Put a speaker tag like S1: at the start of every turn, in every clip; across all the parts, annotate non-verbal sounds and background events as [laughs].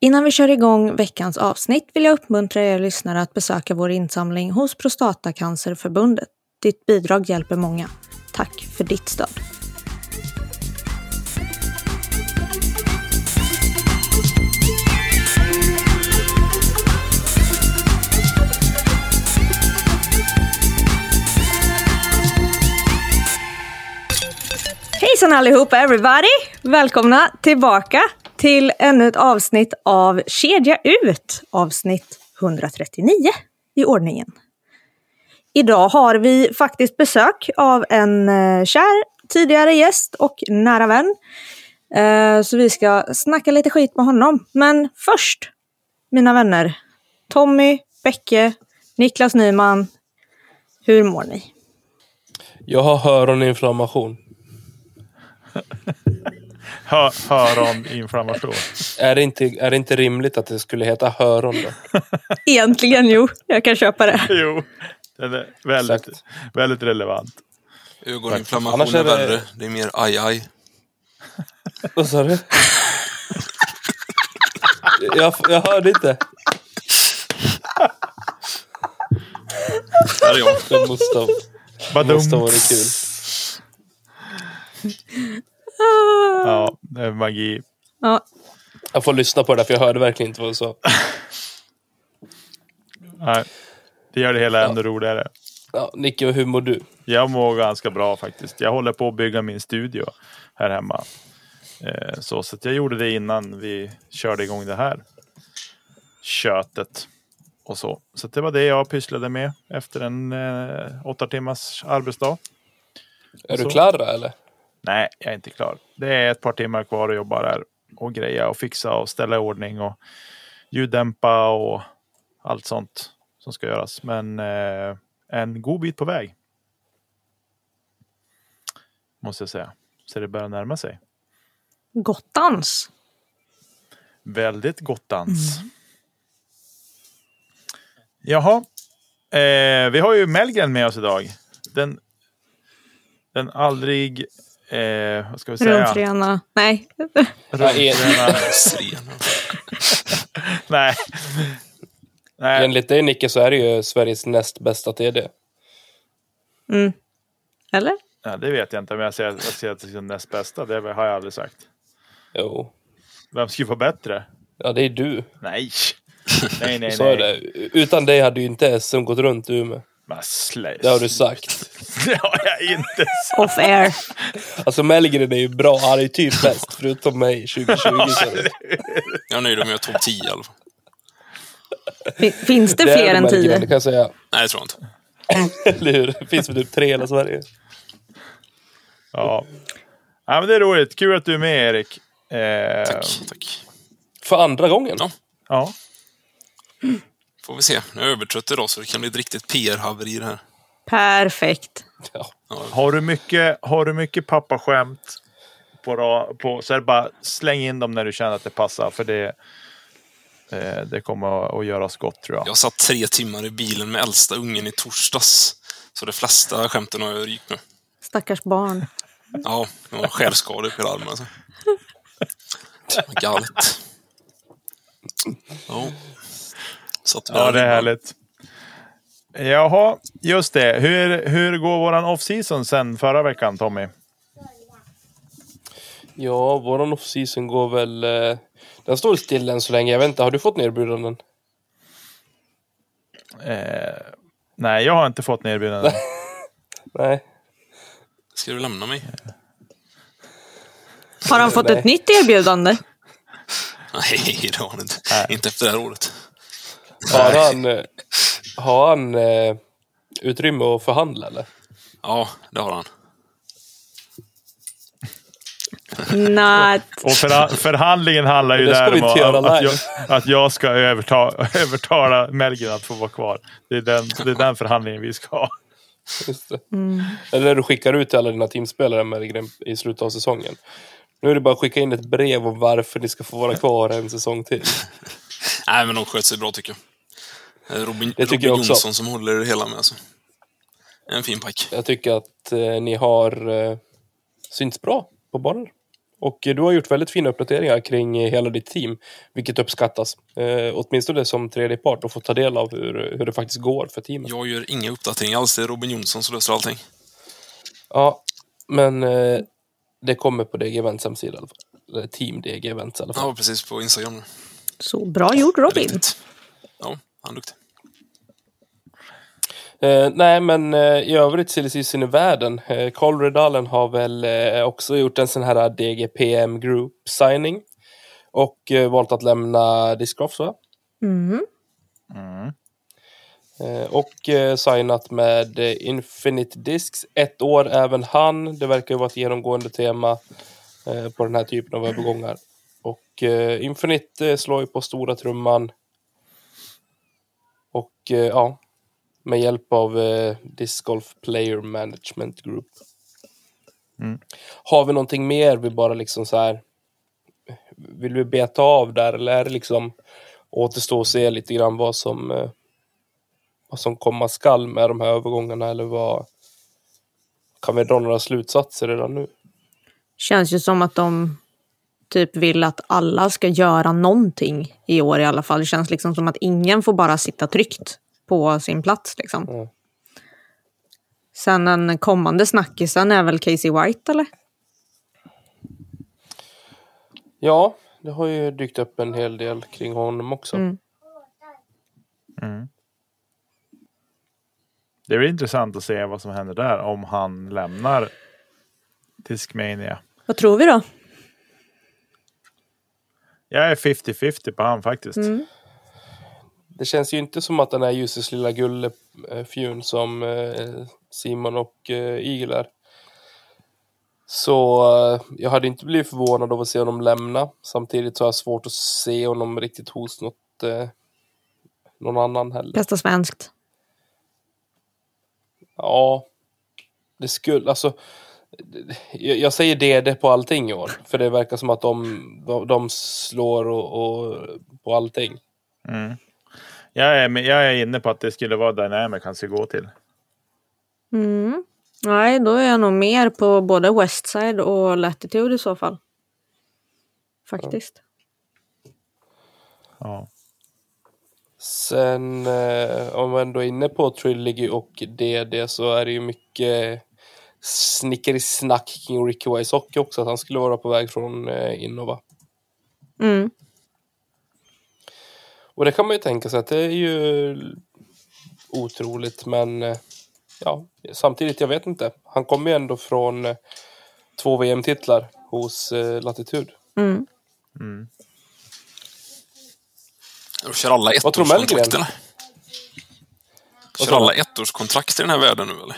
S1: Innan vi kör igång veckans avsnitt vill jag uppmuntra er lyssnare att besöka vår insamling hos Prostatacancerförbundet. Ditt bidrag hjälper många. Tack för ditt stöd. Hejsan allihopa everybody! Välkomna tillbaka till ännu ett avsnitt av Kedja ut, avsnitt 139 i ordningen. Idag har vi faktiskt besök av en eh, kär tidigare gäst och nära vän. Eh, Så vi ska snacka lite skit med honom. Men först, mina vänner, Tommy, Bäcke, Niklas Nyman, hur mår ni?
S2: Jag har öroninflammation.
S3: Hör, hör om inflammation.
S2: Är det, inte, är det inte rimligt att det skulle heta höron då?
S1: Egentligen jo, jag kan köpa det.
S3: [laughs] Jo, den är väldigt,
S2: Exakt.
S3: väldigt relevant.
S4: Ögoninflammation
S2: Annars
S4: är,
S2: är det-
S4: värre. Det är mer aj, aj.
S2: Vad sa du? Jag, jag hörde inte.
S3: Där är jag.
S2: Det måste, ha- det måste ha
S3: Badum.
S2: varit kul.
S3: Ja, det är magi.
S1: Ja,
S2: Jag får lyssna på det där, för jag hörde verkligen inte vad du sa.
S3: Nej, det gör det hela ännu roligare.
S2: Ja, Nicke, hur mår du?
S3: Jag mår ganska bra faktiskt. Jag håller på att bygga min studio här hemma. Eh, Så, så att jag gjorde det innan vi körde igång det här kötet. Och så. så att det var det jag pysslade med efter en eh, åtta timmars arbetsdag.
S2: Är du
S3: Så.
S2: klar då, eller?
S3: Nej, jag är inte klar. Det är ett par timmar kvar att jobba där och greja och fixa och ställa i ordning och ljuddämpa och allt sånt som ska göras. Men eh, en god bit på väg. Måste jag säga. Så det börjar närma sig.
S1: Gottans.
S3: Väldigt gottans. Jaha. Eh, vi har ju Melgren med oss idag. Den, den aldrig... Eh, vad ska vi säga?
S1: Rumfrena. Nej. [laughs]
S2: Ja, en,
S4: Siren.
S3: Nej. Nej.
S2: enligt dig, Nicke, så är det ju Sveriges näst bästa TD.
S1: Eller?
S3: Ja, det vet jag inte, men jag säger, jag säger att det är den näst bästa. Det har jag aldrig sagt.
S2: Jo.
S3: Vem skulle vara bättre?
S2: Ja, det är du.
S3: Nej! Nej, nej,
S2: Sa
S3: nej.
S2: jag det? Utan dig hade ju inte SM gått runt i Umeå.
S3: Men slä-
S2: Det har du sagt.
S3: [laughs] Det har jag inte sagt.
S1: Off air.
S2: Alltså Mellgren är ju bra, han är ju typ bäst förutom mig 2020. Så det,
S4: Jag är nöjd om jag tog 10 i alla fall.
S1: Fin- Finns det,
S2: det
S1: fler
S2: är
S1: än
S2: Mellgren,
S1: tio?
S2: Det kan jag säga.
S4: Nej, det tror jag inte.
S2: Eller hur? Det finns väl typ tre i hela Sverige.
S3: Ja. ja, men det är roligt. Kul att du är med, Erik. Eh,
S4: Tack, tack.
S2: För andra gången?
S4: Ja.
S3: Ja.
S4: Får vi se. Jag är övertrött idag så det kan bli ett riktigt PR-haveri det här.
S1: Perfekt.
S2: Ja.
S3: Har du mycket, har du mycket pappaskämt på, ra- på, så är det bara släng in dem när du känner att det passar. För det, eh, det kommer att- att göra oss gott, tror jag.
S4: Jag satt tre timmar i bilen med äldsta ungen i torsdags. Så de flesta skämten har jag rykt nu.
S1: Stackars barn.
S4: Ja, jag har skärskador på hela armen alltså. Vad Galet. Ja. Satt
S3: Ja, det är härligt. Jaha, just det. Hur, hur går våran off-season sen förra veckan, Tommy?
S2: ja, våran off-season går väl... eh, Den står still än så länge. Jag vet inte, har du fått erbjudanden?
S3: Eh, nej, jag har inte fått något erbjudande.
S2: Nej.
S4: Ska du lämna mig?
S1: Har han fått
S2: Nej.
S1: ett nytt erbjudande?
S4: Nej, det har du inte. Inte efter det här året.
S2: Har han, eh, har han eh, utrymme att förhandla eller?
S4: Ja, det har han.
S1: Not.
S3: Och förha- förhandlingen handlar ju
S2: Det ska
S3: där
S2: vi
S3: om
S2: inte göra
S3: att, att, jag,
S2: live.
S3: att jag ska överta, [laughs] övertala Melgren att få vara kvar. Det är, den, det är den förhandlingen vi ska ha.
S2: Just det.
S1: Mm.
S2: Eller du skickar ut till alla dina teamspelare med i slutet av säsongen. Nu är det bara att skicka in ett brev om varför ni ska få vara kvar en säsong till.
S4: Nej, men de sköt sig bra tycker jag. Eh, Robin,
S2: Det tycker
S4: Robin
S2: jag också.
S4: Jonsson som håller det hela med alltså. En fin pajk.
S2: Jag tycker att eh, ni har eh, synts bra på banan. Och eh, du har gjort väldigt fina uppdateringar kring eh, hela ditt team, vilket uppskattas. Eh, åtminstone som tredje part och få ta del av hur, hur det faktiskt går för teamet.
S4: Jag gör inga uppdateringar alls. Det är Robin Jonsson som löser allting.
S2: Ja, men eh, det kommer på DG Events hemsida i alla fall. Eller Team DG Events i alla fall.
S4: Ja, precis. På Instagram nu.
S1: Så bra gjort Robin.
S4: Riktigt. Ja, han är duktig.
S2: Eh, nej, men eh, i övrigt silly season i världen. Eh, Carl Redalen har väl eh, också gjort en sån här DGPM Group signing. Och eh, valt att lämna Discrafts, va?
S1: Mm.
S2: Eh, Och eh, signat med eh, Infinite Discs. Ett år även han. Det verkar ju vara ett genomgående tema eh, på den här typen av övergångar. Och eh, Infinite eh, slår ju på stora trumman. Och eh, ja, med hjälp av eh, Disc Golf Player Management Group. Har vi någonting mer vi bara liksom så här vill vi beta av där eller är det liksom återstå och se lite grann vad som eh, vad som komma skall med de här övergångarna eller vad kan vi dra några slutsatser redan nu?
S1: Känns ju som att de typ vill att alla ska göra någonting i år i alla fall. Det känns liksom som att ingen får bara sitta tryggt på sin plats liksom.
S2: Mm.
S1: Sen den kommande snackisen är väl Casey White eller?
S2: Ja, det har ju dykt upp en hel del kring honom också.
S1: Mm.
S3: Det blir intressant att se vad som händer där om han lämnar Discmania.
S1: Vad tror vi då?
S3: Jag är 50-50 på han faktiskt.
S1: Mm.
S2: Mm. Det känns ju inte som att den här Jusses lilla gullefjun som eh, Simon och eh, Igel är. Så eh, jag hade inte blivit förvånad av att se honom lämna. Samtidigt så har jag svårt att se honom riktigt hos något, eh, någon annan heller.
S1: Bästa svenskt.
S2: Ja, det skulle, alltså. Jag, jag säger DD på allting i år, för det verkar som att de, de, de slår och, och på allting.
S3: Jag, är, men jag är inne på att det skulle vara Dynamic han skulle gå till.
S1: Mm. Nej, då är jag nog mer på både Westside och Latitude i så fall. Faktiskt.
S3: Ja.
S2: Sen eh, om vi ändå är inne på Trilogy och DD så är det ju mycket snickerisnack kring Ricky Ways hockey också, att han skulle vara på väg från eh, Innova.
S1: Mm.
S2: Och det kan man ju tänka sig att det är ju otroligt, men eh, ja, samtidigt, jag vet inte. Han kommer ju ändå från eh, två VM-titlar hos eh, Latitud.
S1: Mm.
S4: Då kör alla
S2: Vad tror
S4: ettårskontrakt
S2: Mellgren?
S4: eller?
S2: sa
S4: Kör
S2: du?
S4: alla ettårskontrakt i den här världen nu eller?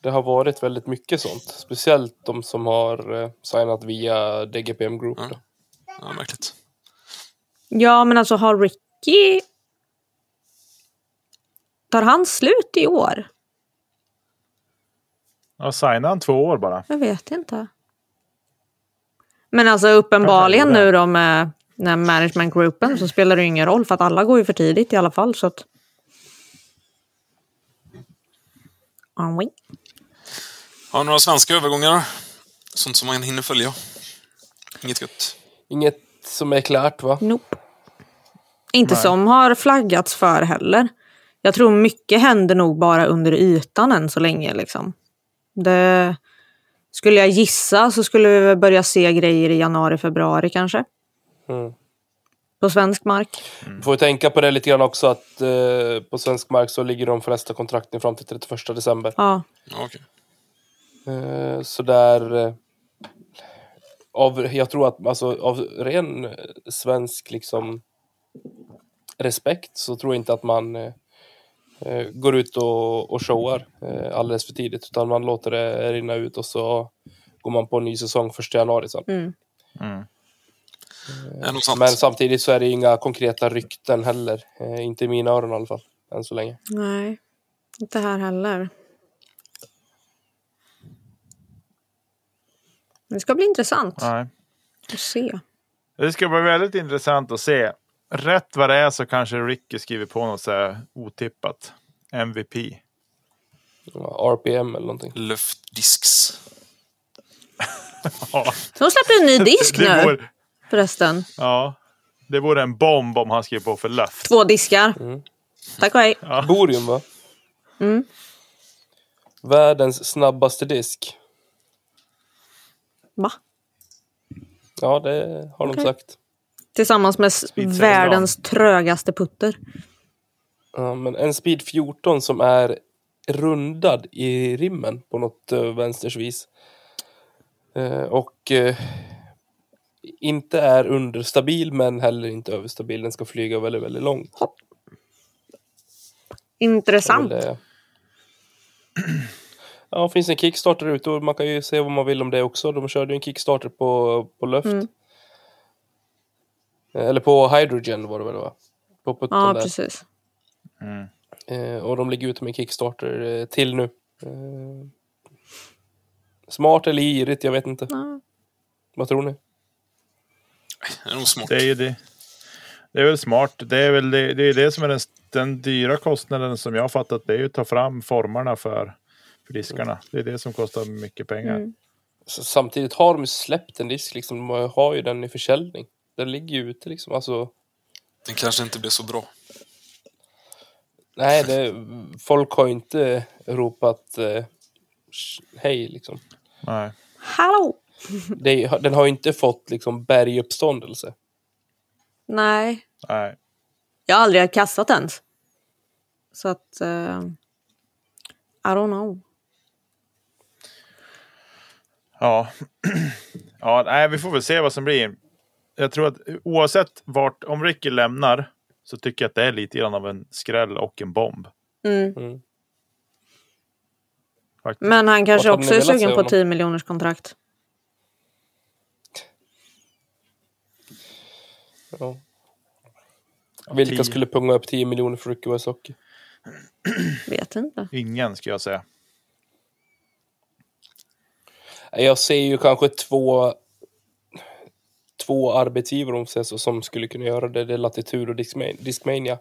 S2: Det har varit väldigt mycket sånt, speciellt de som har eh, signat via DGPM Group. Då.
S4: Ja, märkligt.
S1: Ja, men alltså har Ricky... Tar han slut i år?
S3: Och signar han två år bara.
S1: Jag vet inte. Men alltså uppenbarligen
S3: Kanske är det.
S1: nu då med den här managementgruppen så spelar det ju ingen roll för att alla går ju för tidigt i alla fall. Så att... Aren't we?
S4: Ja, några svenska övergångar. Sånt som man hinner följa. Inget gött.
S2: Inget som är klart, va?
S1: Nope. Inte
S3: Nej.
S1: som har flaggats för heller. Jag tror mycket händer nog bara under ytan än så länge. Liksom. Det... Skulle jag gissa så skulle vi väl börja se grejer i januari, februari kanske.
S2: Mm.
S1: På svensk mark.
S2: Får ju tänka på det lite grann också att eh, på svensk mark så ligger de flesta kontrakten fram till 31 december.
S1: Ja.
S4: Ja, okej.
S2: Eh, så där... Eh, av, jag tror att alltså, av ren eh, svensk liksom respekt så tror jag inte att man eh, eh, går ut och, och showar eh, alldeles för tidigt utan man låter det rinna ut och så går man på en ny säsong första januari sen.
S1: Mm.
S4: Det är nog sant.
S2: Eh, Men samtidigt så är det inga konkreta rykten heller. Eh, inte i mina öron i alla fall, än så länge.
S1: Nej, inte här heller. Det ska bli intressant
S3: Nej.
S1: att se.
S3: Det ska bli väldigt intressant att se. Rätt vad det är så kanske Ricky skriver på något så här otippat. MVP.
S2: Ja, RPM eller någonting.
S4: Luftdisks.
S3: Ja,
S1: De släpper en ny disk
S3: [laughs] det
S1: nu
S3: vore,
S1: förresten.
S3: ja, det vore en bomb om han skrev på för löft.
S1: Två diskar.
S3: Mm.
S1: Tack och hej.
S2: Borium va? Världens snabbaste disk.
S1: Va?
S2: Ja, det har de
S1: Okej.
S2: sagt.
S1: Tillsammans med s-
S3: Speedsail
S1: världens trögaste putter.
S2: Ja, men en speed 14 som är rundad i rimmen på något eh, vänsters vis. Eh, och eh, inte är understabil men heller inte överstabil. Den ska flyga väldigt, väldigt långt. Det är
S1: Intressant.
S2: väl, eh, Ja, det finns en Kickstarter ute och man kan ju se vad man vill om det också. De körde ju en Kickstarter på, på Luft.
S1: Mm.
S2: Eh, Eller på Hydrogen var det väl va? På putten
S1: Ja,
S2: där.
S1: precis.
S2: Eh, och de ligger ute med Kickstarter eh, till nu. Eh, smart eller girigt, jag vet inte.
S1: Ja.
S2: Vad tror ni?
S4: Det är nog smart.
S3: Det är ju det. Det är väl smart. Det är väl det, det, är det som är den, den dyra kostnaden som jag har fattat. Det är ju att ta fram formarna för, för diskarna. Det är det som kostar mycket pengar.
S2: Så, samtidigt har de ju släppt en disk, liksom. de har- har ju den i försäljning. Den ligger ju ute liksom. Alltså,
S4: Den kanske inte blir så bra.
S2: nej, det, folk har ju inte ropat eh, sh- hej liksom.
S3: Nej.
S1: Hallå!
S2: Det, är- den har ju inte fått liksom berguppståndelse.
S1: Nej,
S3: Nej.
S1: jag har aldrig kastat ens. Så att... eh, I don't know.
S3: Ja. [clears throat] ja, nej, vi får väl se vad som blir. Jag tror att oavsett vart, om Ricky lämnar så tycker jag att det är lite grann av en skräll och en bomb.
S1: Mm.
S2: Mm.
S3: Faktiskt.
S1: Men han kanske
S2: Vad hade
S1: också
S2: ni
S1: är
S2: velat se
S1: sugen på
S2: honom?
S1: 10 miljoners kontrakt.
S2: Ja. Vilka
S3: tio.
S2: skulle punga upp 10 miljoner för Ricky Westhockey?
S1: Vet inte.
S3: Ingen ska jag säga.
S2: Jag ser ju kanske två två arbetsgivare om man säger så, som skulle kunna göra det. Det är Latitud och Discma- Discmania.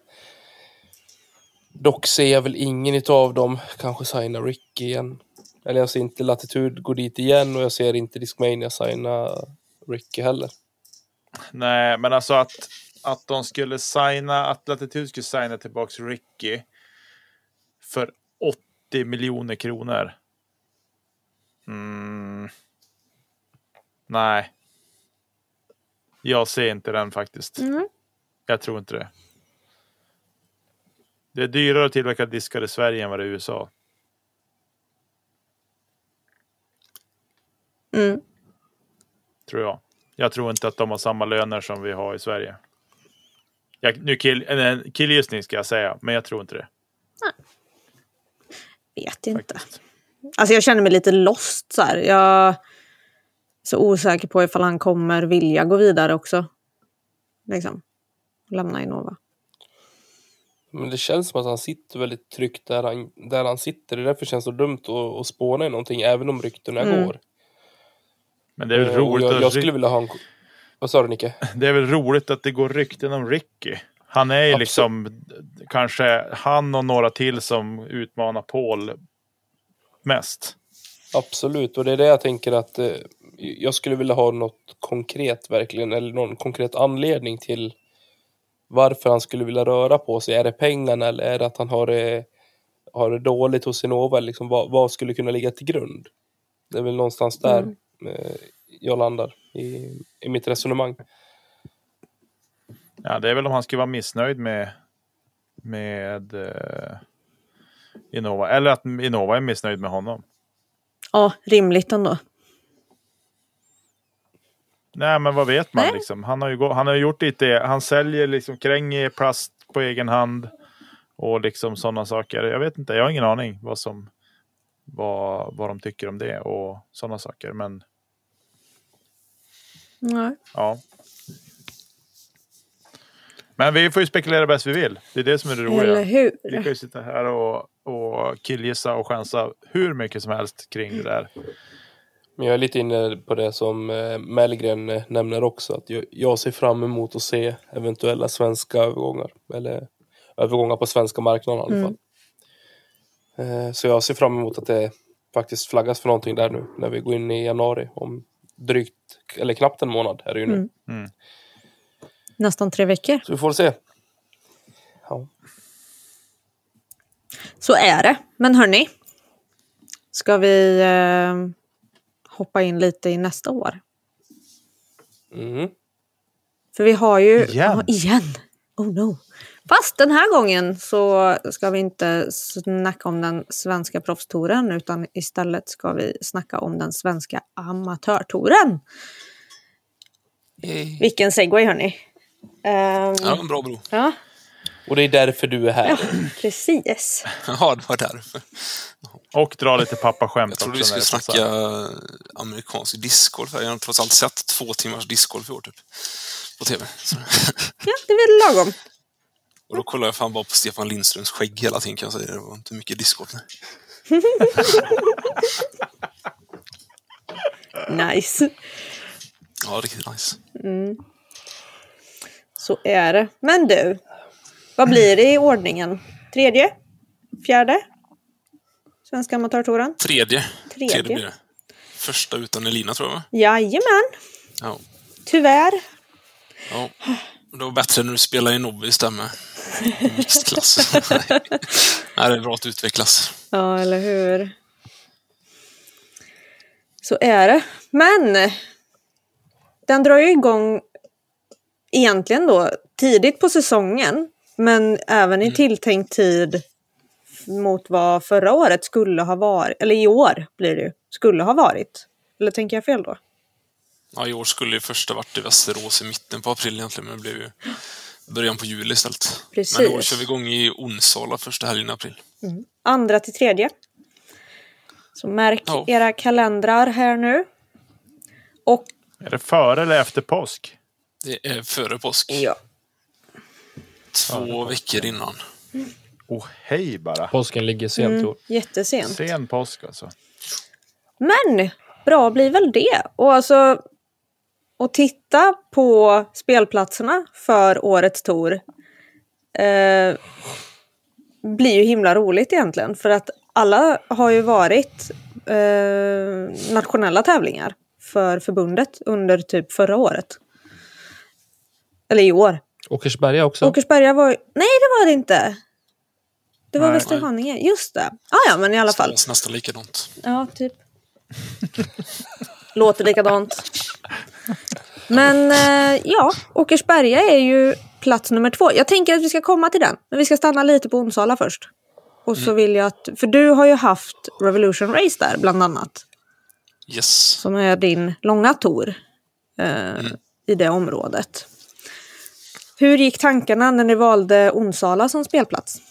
S2: Dock ser jag väl ingen utav dem kanske signa Rick igen. Eller jag ser inte Latitud gå dit igen och jag ser inte Discmania signa Ricky heller.
S3: Nej, men alltså att, att de skulle signa, att Latitude skulle signa tillbaks Ricky för 80 miljoner kronor. Mm. Nej. Jag ser inte den faktiskt. Jag tror inte det. Det är dyrare att tillverka diskar i Sverige än vad det är i USA.
S1: Mm.
S3: Tror jag. Jag tror inte att de har samma löner som vi har i Sverige. Jag, nu kill, en- en killgissning ska jag säga, men jag tror inte det.
S1: Vet inte.
S3: Faktiskt.
S1: Alltså jag känner mig lite lost så här. Jag är så osäker på ifall han kommer vilja gå vidare också. Liksom. Lämna Innova.
S2: Men det känns som att han sitter väldigt tryggt där han, där han sitter. Det är därför känns det så dumt att, att spåna i någonting, även om ryktena går.
S3: Men det är väl,
S2: Eh, och
S3: roligt,
S2: jag, jag
S3: att,
S2: skulle vilja ha en... Vad sa du,
S3: [laughs]
S2: Nicke?
S3: det är väl roligt att det går rykten om Ricky. Han är ju
S2: Absolut.
S3: liksom kanske han och några till som utmanar Paul mest.
S2: Absolut, och det är det jag tänker att eh, jag skulle vilja ha något konkret verkligen, eller någon konkret anledning till varför han skulle vilja röra på sig. Är det pengarna eller är det att han har det, har det dåligt hos Innova? Liksom, vad, vad skulle kunna ligga till grund? Det är väl någonstans där eh, jag landar i, i mitt resonemang.
S3: Ja, det är väl om han skulle vara missnöjd med, med eh, Innova. Eller att Innova är missnöjd med honom.
S1: Ja, rimligt ändå.
S3: Nej, men vad vet man
S1: Nej.
S3: liksom? Han har ju gå- han har ju gjort lite. Han säljer liksom kränger plast på egen hand och liksom sådana saker. Jag vet inte. Jag har ingen aning vad som vad, vad de tycker om det och sådana saker. Men
S1: Nej.
S3: ja. Men vi får ju spekulera bäst vi vill. Det är det som är det roliga.
S1: Eller hur?
S3: Vi kan ju sitta här och, och killgissa och chansa hur mycket som helst kring det där.
S2: Men jag är lite inne på det som eh, Mellgren eh, nämner också. Att jag, jag ser fram emot att se eventuella svenska övergångar. Eller övergångar på svenska marknaden i alla fall. Eh, Så jag ser fram emot att det faktiskt flaggas för någonting där nu. När vi går in i januari. Om drygt, eller knappt en månad är det ju nu.
S1: Nästan tre veckor.
S2: Så vi får se. Ja.
S1: Så är det. Men hörni, ska vi eh, hoppa in lite i nästa år?
S2: Mm.
S1: För vi har ju...
S3: Igen.
S1: Ja, igen. Oh no. Fast den här gången så ska vi inte snacka om den svenska proffstouren utan istället ska vi snacka om den svenska amatörtouren. Vilken segway hörni. Ehm,
S4: Ja, en bra bro.
S1: ja,
S2: Och det är därför du är här.
S1: precis.
S4: [laughs] Ja, det var därför.
S3: Och dra lite pappaskämt
S4: Jag
S3: också.
S4: trodde
S3: när
S4: vi skulle
S3: det passar.
S4: snacka amerikansk discgolf. här. Jag har trots allt sett två timmars discgolf i år, typ. På TV. Så. [laughs]
S1: Ja, det är väl lagom.
S4: Och då kollade jag fan bara på Stefan Lindströms skägg hela tiden, kan jag säga. Det var inte mycket discgolf. nej.
S1: Nice.
S4: Ja, riktigt nice.
S1: Så är det. Men du, vad blir det i ordningen? Tredje? Fjärde? Svenska amatörtouren?
S4: Tredje.
S1: Tredje.
S4: blir det. Första utan Elina, tror jag, va?
S1: Jajamän,
S4: Ja.
S1: tyvärr.
S4: ja. Och Det var bättre när du spelade i Nobbys där med. I Mixedklass. Nej. [laughs] Nej, det är bra att utvecklas.
S1: Ja, eller hur. Så är det. Men den drar ju igång egentligen då tidigt på säsongen, men även i tilltänkt tid mot vad förra året skulle ha varit, eller i år blir det ju, skulle ha varit. Eller tänker jag fel då?
S4: Ja, I år skulle ju första varit i Västerås i mitten på april egentligen, men det blev ju början på juli istället.
S1: Precis.
S4: Men i år kör vi igång i Onsala första helgen i april.
S1: andra till tredje. Så märk
S4: Ja.
S1: era kalendrar här nu. Och
S3: Är det före eller efter påsk?
S4: Det är före påsk.
S1: ja,
S4: Två veckor innan.
S3: Åh hej bara.
S2: Påsken ligger sent i år.
S1: jättesent.
S3: Sen påsk alltså.
S1: Men bra blir väl det. Och alltså att titta på spelplatserna för årets tour eh, blir ju himla roligt egentligen. För att alla har ju varit eh, nationella tävlingar för förbundet under typ förra året. Eller i år.
S2: Åkersberga också.
S1: Åkersberga var ju- Nej, det var det inte. Det var
S3: Nej.
S1: Västra Haninge. Just det. Ah, ja, men i alla fall.
S4: Stallas nästan likadant.
S1: Ja, typ. Låter likadant. Men eh, ja, Åkersberga är ju plats nummer två. Jag tänker att vi ska komma till den, men vi ska stanna lite på Onsala först. Och så vill jag att, för du har ju haft Revolution Race där bland annat,
S4: Yes.
S1: som är din långa tour eh, i det området. Hur gick tankarna när ni valde Onsala som spelplats?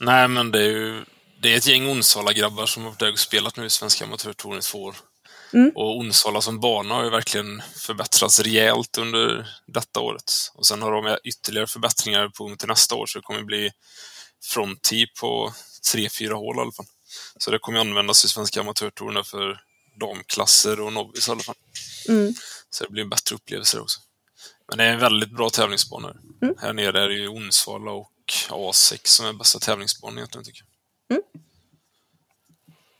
S4: Nej, men det är ju... Det är ett gäng Onsala-grabbar som har varit där och spelat nu i Svenska Amatörtouren i två år. Och Onsala som bana har ju verkligen förbättrats rejält under detta året. Och sen har de ytterligare förbättringar på gång till nästa år, så det kommer bli fronttee på tre, fyra hål i alla fall. Så det kommer ju användas i Svenska Amatörtouren där för damklasser och nobbis i alla fall. Så det blir en bättre upplevelse också. Men det är en väldigt bra tävlingsbana. här.
S1: Mm.
S4: Här nere är det ju Onsala och A6 som är bästa tävlingsbanan egentligen, tycker jag.
S1: Mm.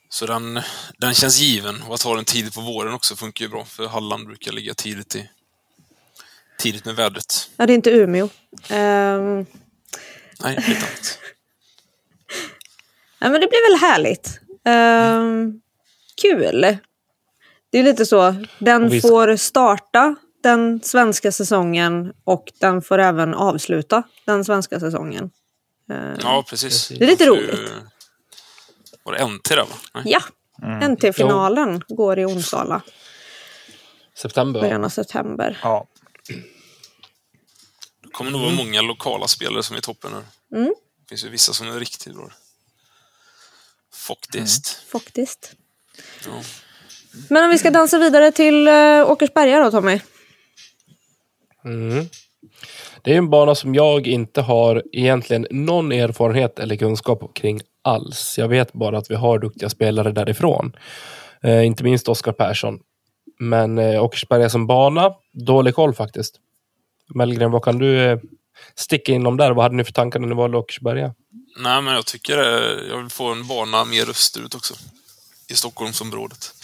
S4: Så den, den känns given. Och att ha den tidigt på våren också funkar ju bra, för Halland brukar ligga tidigt i tidigt med vädret.
S1: Ja, det är inte Umeå. Ehm,
S4: Nej, lite annat.
S1: Ja, men det blir väl härligt. Ehm, kul. Det är lite så. Den
S2: Och vi ska-
S1: får starta den svenska säsongen och den får även avsluta den svenska säsongen.
S4: Ja, precis.
S1: Mm. Det är lite
S4: Man får ju-
S1: roligt.
S4: Var det NT där, va? Nej. Mm.
S1: Ja, NT-finalen går i Onsala
S2: September.
S1: början av september.
S3: Ja.
S4: Det kommer nog vara
S1: Mm.
S4: många lokala spelare som är i toppen nu. Det finns ju vissa som är riktigt bra.
S1: Mm.
S4: Faktiskt.
S1: Faktiskt.
S4: Ja.
S1: Men om vi ska dansa vidare till eh, Åkersberga då Tommy.
S2: Mm. Det är en bana som jag inte har egentligen någon erfarenhet eller kunskap kring alls. Jag vet bara att vi har duktiga spelare därifrån. Eh, inte minst Oskar Persson. Men eh, Åkersberga som bana, dålig koll faktiskt. Mellgren, vad kan du eh, sticka inom där? Vad hade ni för tankar när ni valde Åkersberga?
S4: Nej, men jag tycker eh, jag vill få en bana mer österut också. I Stockholmsområdet.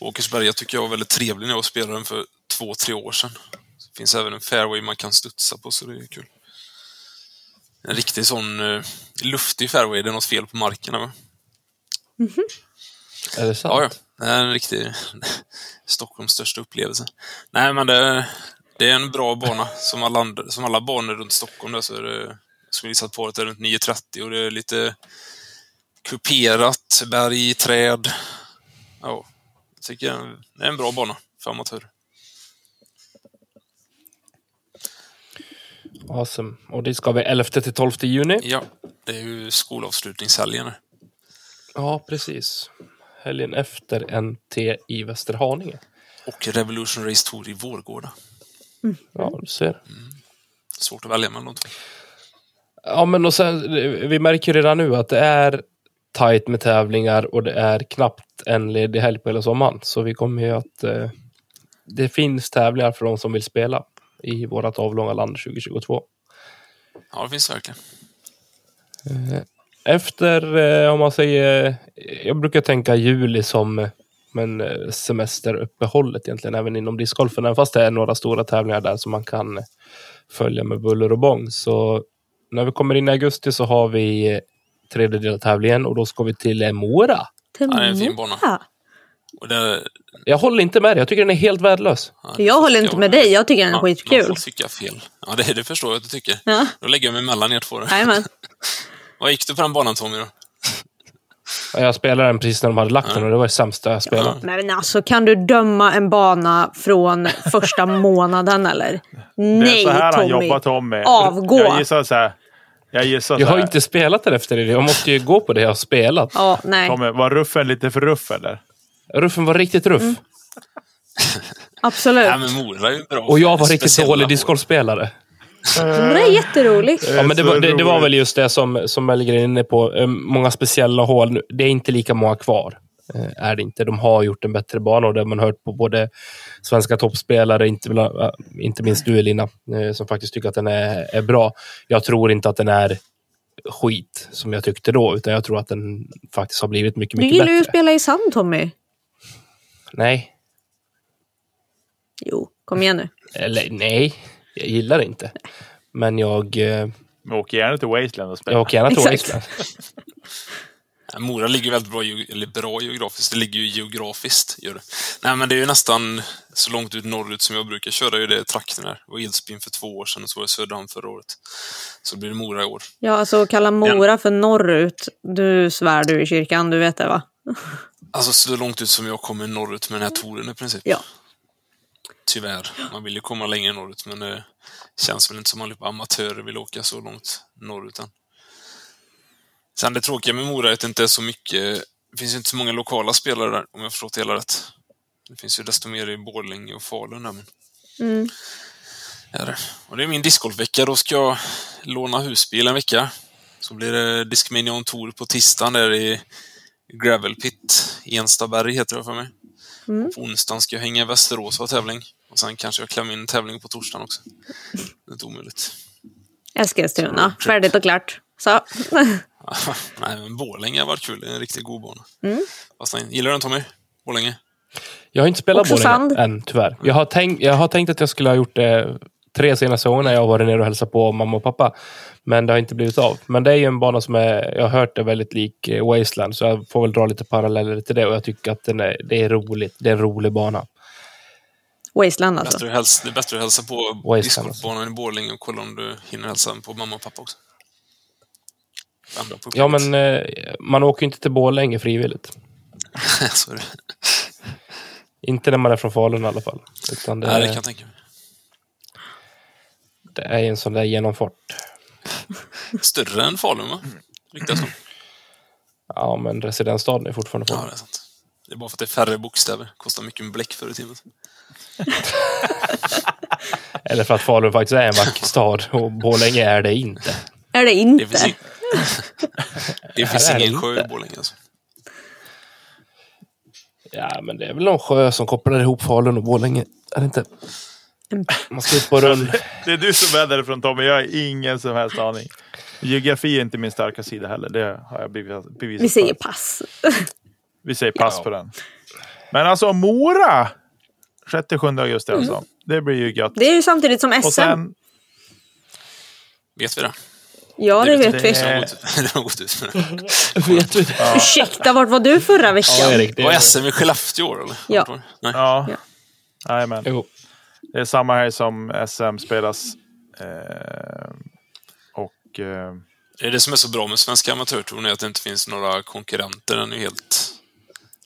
S4: Åkersberga tycker jag var väldigt trevlig när jag spelade den för två, tre år sedan. Det finns även en fairway man kan studsa på, så det är kul. En riktig sån eh, luftig fairway, det är något fel på marken. va?
S2: Är det sant?
S4: Ja, ja. Det är en riktig [laughs] Stockholms största upplevelse. Nej, men det, det är en bra bana. Som alla, andra, som alla banor runt Stockholm där så är det, jag skulle gissa på att det är runt 9.30 och det är lite kuperat, berg, träd. Ja, jag tycker det är en bra bana för amatörer.
S2: Awesome. Och det ska vi 11 till 12 juni.
S4: Ja, det är ju skolavslutningshelgen. här.
S2: Ja, precis. Helgen efter NT i Västerhaninge.
S4: Och Revolution Race Tour i Vårgårda.
S2: Ja, du ser.
S4: Svårt att välja mellan de två.
S2: Ja, men och sen, vi märker ju redan nu att det är tajt med tävlingar och det är knappt en ledig helg på hela sommaren. Så vi kommer ju att... Eh, det finns tävlingar för de som vill spela i vårt avlånga land 2022.
S4: Ja, det finns det verkligen.
S2: Efter, eh, om man säger... Jag brukar tänka juli som eh, men eh, semesteruppehållet egentligen, även inom discgolfen. Även fast det är några stora tävlingar där som man kan eh, följa med buller och bång. Så när vi kommer in i augusti så har vi eh, tredje del av tävlingen och då ska vi till eh, Mora.
S1: Till
S4: Ja, det är en fin bana.
S1: Ja.
S4: Och det,
S2: Jag håller inte med dig. Jag tycker den är helt värdelös.
S4: ja, det
S1: Jag håller
S4: tycker
S1: inte med
S4: med.
S1: dig, jag tycker den är
S4: Ja, Man
S1: skitkul.
S4: får tycka fel. Ja, det, det förstår jag att du tycker.
S1: Ja.
S4: Då lägger jag mig mellan er två. då.
S1: Jajamän.
S4: Vad gick du på den banan Tommy då?
S2: Jag spelade den precis när de hade lagt den och det var det sämsta jag spelat.
S1: Nej, Men alltså kan du döma en bana från första månaden eller? Nej
S3: Det är så här
S1: Tommy.
S3: han jobbar Tommy.
S1: Avgå.
S3: Jag gissar så här. Jag gissar
S2: Jag
S3: så
S2: har
S3: här.
S2: ju inte spelat den efter det. Jag måste ju gå på det jag har spelat.
S1: Ja, nej.
S3: Tommy, var ruffen lite för ruff eller?
S2: Ruffen var riktigt ruff.
S1: Absolut.
S4: Nej men Mora är ju bra.
S2: Och jag var riktigt
S4: Speciella
S2: dålig
S4: år.
S2: discgolfspelare.
S1: Men det är jätteroligt.
S2: Ja, men det,
S3: så
S2: var, det, det var
S3: roligt.
S2: väl just det som, som Mellgren är inne på. Eh, Många speciella hål. Nu- Det är inte lika många kvar. eh, Är det inte. De har gjort en bättre bana och det har man hört på både svenska toppspelare, inte, bla- eh, inte minst du Elina, eh, som faktiskt tycker att den är, är bra. Jag tror inte att den är skit som jag tyckte då, utan jag tror att den faktiskt har blivit mycket,
S1: Du
S2: mycket
S1: gillar ju
S2: bättre.
S1: att spela i sand Tommy.
S2: Nej,
S1: Jo, kom igen nu.
S2: eller nej, jag gillar det inte. Men jag, eh,
S3: Men åk gärna till Wasteland och spela.
S2: jag åker gärna till
S1: Exakt.
S2: Island.
S4: Ja, Mora ligger ju väldigt bra, ge- eller bra geografiskt. Det ligger ju geografiskt. Gör det. Nej men det är ju nästan så långt ut norrut som jag brukar köra ju det i trakten här. Det var Edsbyn för två år sedan och så var det Söderhamn förra året. Så blir det Mora i år.
S1: Ja, alltså kalla Mora för norrut. Du svär du i kyrkan, du vet det va?
S4: Alltså så långt ut som jag kommer norrut med den här touren i princip.
S1: Ja.
S4: Tyvärr. Man vill ju komma längre norrut men det känns väl inte som att amatörer vill åka så långt norrut än. Sen det tråkiga med Mora är att det inte är så mycket, det finns ju inte så många lokala spelare där om jag förstått det hela rätt. Det finns ju desto mer i Borlänge och Falun där. Men... Ja, det. Och det är min discgolfvecka, då ska jag låna husbil en vecka. Så blir det Discmanion Tour på tisdagen där i Gravel Pit, Enstaberg heter det för mig. På onsdagen ska jag hänga i Västerås och ha tävling. Och sen kanske jag klämmer in en tävling på torsdagen också. Det är inte omöjligt. [laughs]
S1: Eskilstuna, färdigt och klart. Så. [laughs]
S4: Nej, men Borlänge har varit kul. Det är en riktigt god bana. Fast nej, gillar du den Tommy? Borlänge?
S2: Jag har inte spelat
S1: Också
S2: bowling
S1: sand.
S2: än, tyvärr. Jag har, tänkt, jag har tänkt att jag skulle ha gjort det tre senaste gångerna jag har varit nere och hälsat på mamma och pappa. Men det har inte blivit av. Men det är ju en bana som är, jag har hört är väldigt lik eh, Wasteland, så jag får väl dra lite paralleller till det. Och jag tycker att den är, det är roligt. Det är en rolig bana.
S1: Wasteland alltså.
S4: Bättre att hälsa, det är bättre att hälsa på
S2: Wasteland,
S4: discgolfbanan i Borlänge och kolla om du hinner hälsa på mamma och pappa också. Andra på
S2: Ja,
S4: upplägget.
S2: men eh, man åker ju inte till Borlänge frivilligt.
S4: [laughs] Så är det.
S2: Inte när man är från Falun i alla fall. Utan det,
S4: Nej, det kan
S2: är-
S4: jag tänka mig.
S2: det är en sån där genomfart. Mm.
S4: Större än Falun, va? Ryktas om.
S2: Ja, men residensstaden är fortfarande på.
S4: Ja, det är sant. Det är bara för att det är färre bokstäver. Kostar mycket med bläck förr i tiden.
S2: Eller för att Falun faktiskt är en vacker stad och Borlänge är det inte.
S1: Är det
S4: Det
S1: [laughs]
S4: finns,
S1: inte?
S4: in... det finns
S2: här är
S4: ingen
S2: det
S4: sjö i
S2: inte.
S4: Borlänge alltså.
S2: Ja, men det är väl någon sjö som kopplar ihop Falun och Borlänge. Är det inte?
S1: Mm.
S2: Man ska ut
S1: [laughs]
S2: på rull.
S3: [laughs] Det är du som är därifrån Tommy, jag har ingen som helst aning. Geografi är inte min starka sida heller, det har jag bevisat. bevisat
S1: Vi säger
S3: förut.
S1: pass.
S3: Vi säger pass på den. Men alltså Mora! 6-7 augusti alltså. Det blir ju gött.
S1: Mm. Det är ju samtidigt som SM.
S3: Och sen,
S4: Vet vi det?
S1: ja, det vet vi.
S3: det-
S4: Det har gått, [laughs] det har gått ut med det.
S2: Vet du?
S1: Ursäkta, vart var du förra veckan?
S2: Erik, det
S4: Det var
S2: är...
S4: SM i Skellefteå i år, eller?
S1: Ja.
S4: Nej.
S3: ja.
S1: Ja.
S3: Jajamän.
S2: Jo.
S3: Det är samma här som SM spelas. Eh, och eh,
S4: Det är det som är så bra med Svenska Amatörtouren, är att det inte finns några konkurrenter. Den är ju helt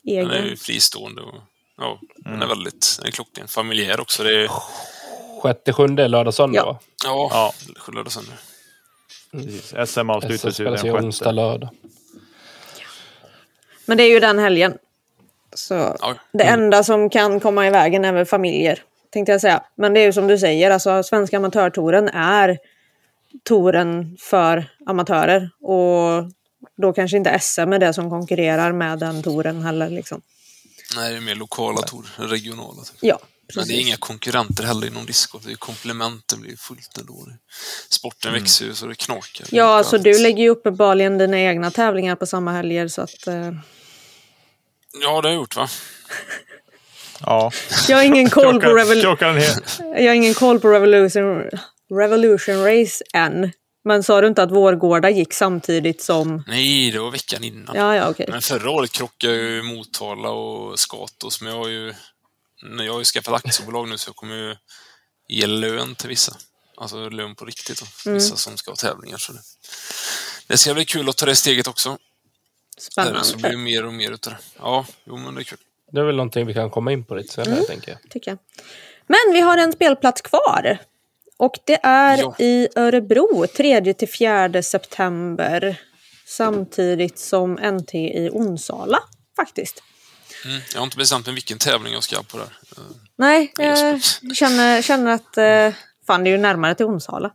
S4: den är ju
S1: Egen.
S4: fristående. Och, ja, Den är väldigt den är klockren. Familjär också. Det är,
S2: Sjätte, sjunde, lördag, söndag
S1: Ja.
S2: va?
S4: ja, lördag och söndag.
S3: precis, SM
S2: SM
S3: avslutas ju
S2: spelas ju
S3: den
S2: onsdag,
S3: sjätte.
S2: lördag.
S1: Men det är ju den helgen. Så
S4: Ja. Mm.
S1: det enda som kan komma i vägen är väl familjer. Tänkte jag säga. Men det är ju som du säger, alltså Svenska amatörtouren är touren för amatörer. Och då kanske inte SM är det som konkurrerar med den touren heller. Liksom.
S4: Nej, det är mer lokala tourer, än regionala. Typ.
S1: Ja,
S4: Men det är
S1: precis.
S4: inga konkurrenter heller inom discgolf. Det är komplement, det blir fullt ändå. Det- Sporten växer ju så det knakar.
S1: Ja, alltså
S4: Allt.
S1: du lägger ju uppenbarligen dina egna tävlingar på samma helger. Så att, eh,
S4: Ja, det har jag gjort va?
S3: Ja.
S1: jag, har ingen koll på
S3: Krockar,
S1: Revol-
S3: krockar den helt.
S1: jag har ingen koll på Revolution, Revolution Race än. Men sa du inte att Vårgårda gick samtidigt som...
S4: Nej, det var veckan innan.
S1: Ja, ja, okej.
S4: Men förra året krockade jag ju Motala och Skatos, men jag har ju, nej, jag har ju skaffat aktiebolag nu så jag kommer ju ge lön till vissa. Alltså lön på riktigt då.
S1: Mm.
S4: Vissa som ska ha tävlingar. Så det. det ska bli kul att ta det steget också. Där så blir det
S1: Spännande,
S4: mer och mer utav det. Ja, jo men det är kul.
S2: Det är väl någonting vi kan komma in på lite
S1: Mm.
S2: senare, tänker jag.
S1: tycker jag. Men vi har en spelplats kvar. Och det är
S4: Ja.
S1: i Örebro, 3-4 september. Samtidigt som NT i Onsala, faktiskt.
S4: Mm. Jag har inte bestämt mig vilken tävling jag ska på där. Eh,
S1: Nej, eh,
S4: Just det.
S1: jag känner, känner att... Eh, fan, det är ju närmare till Onsala.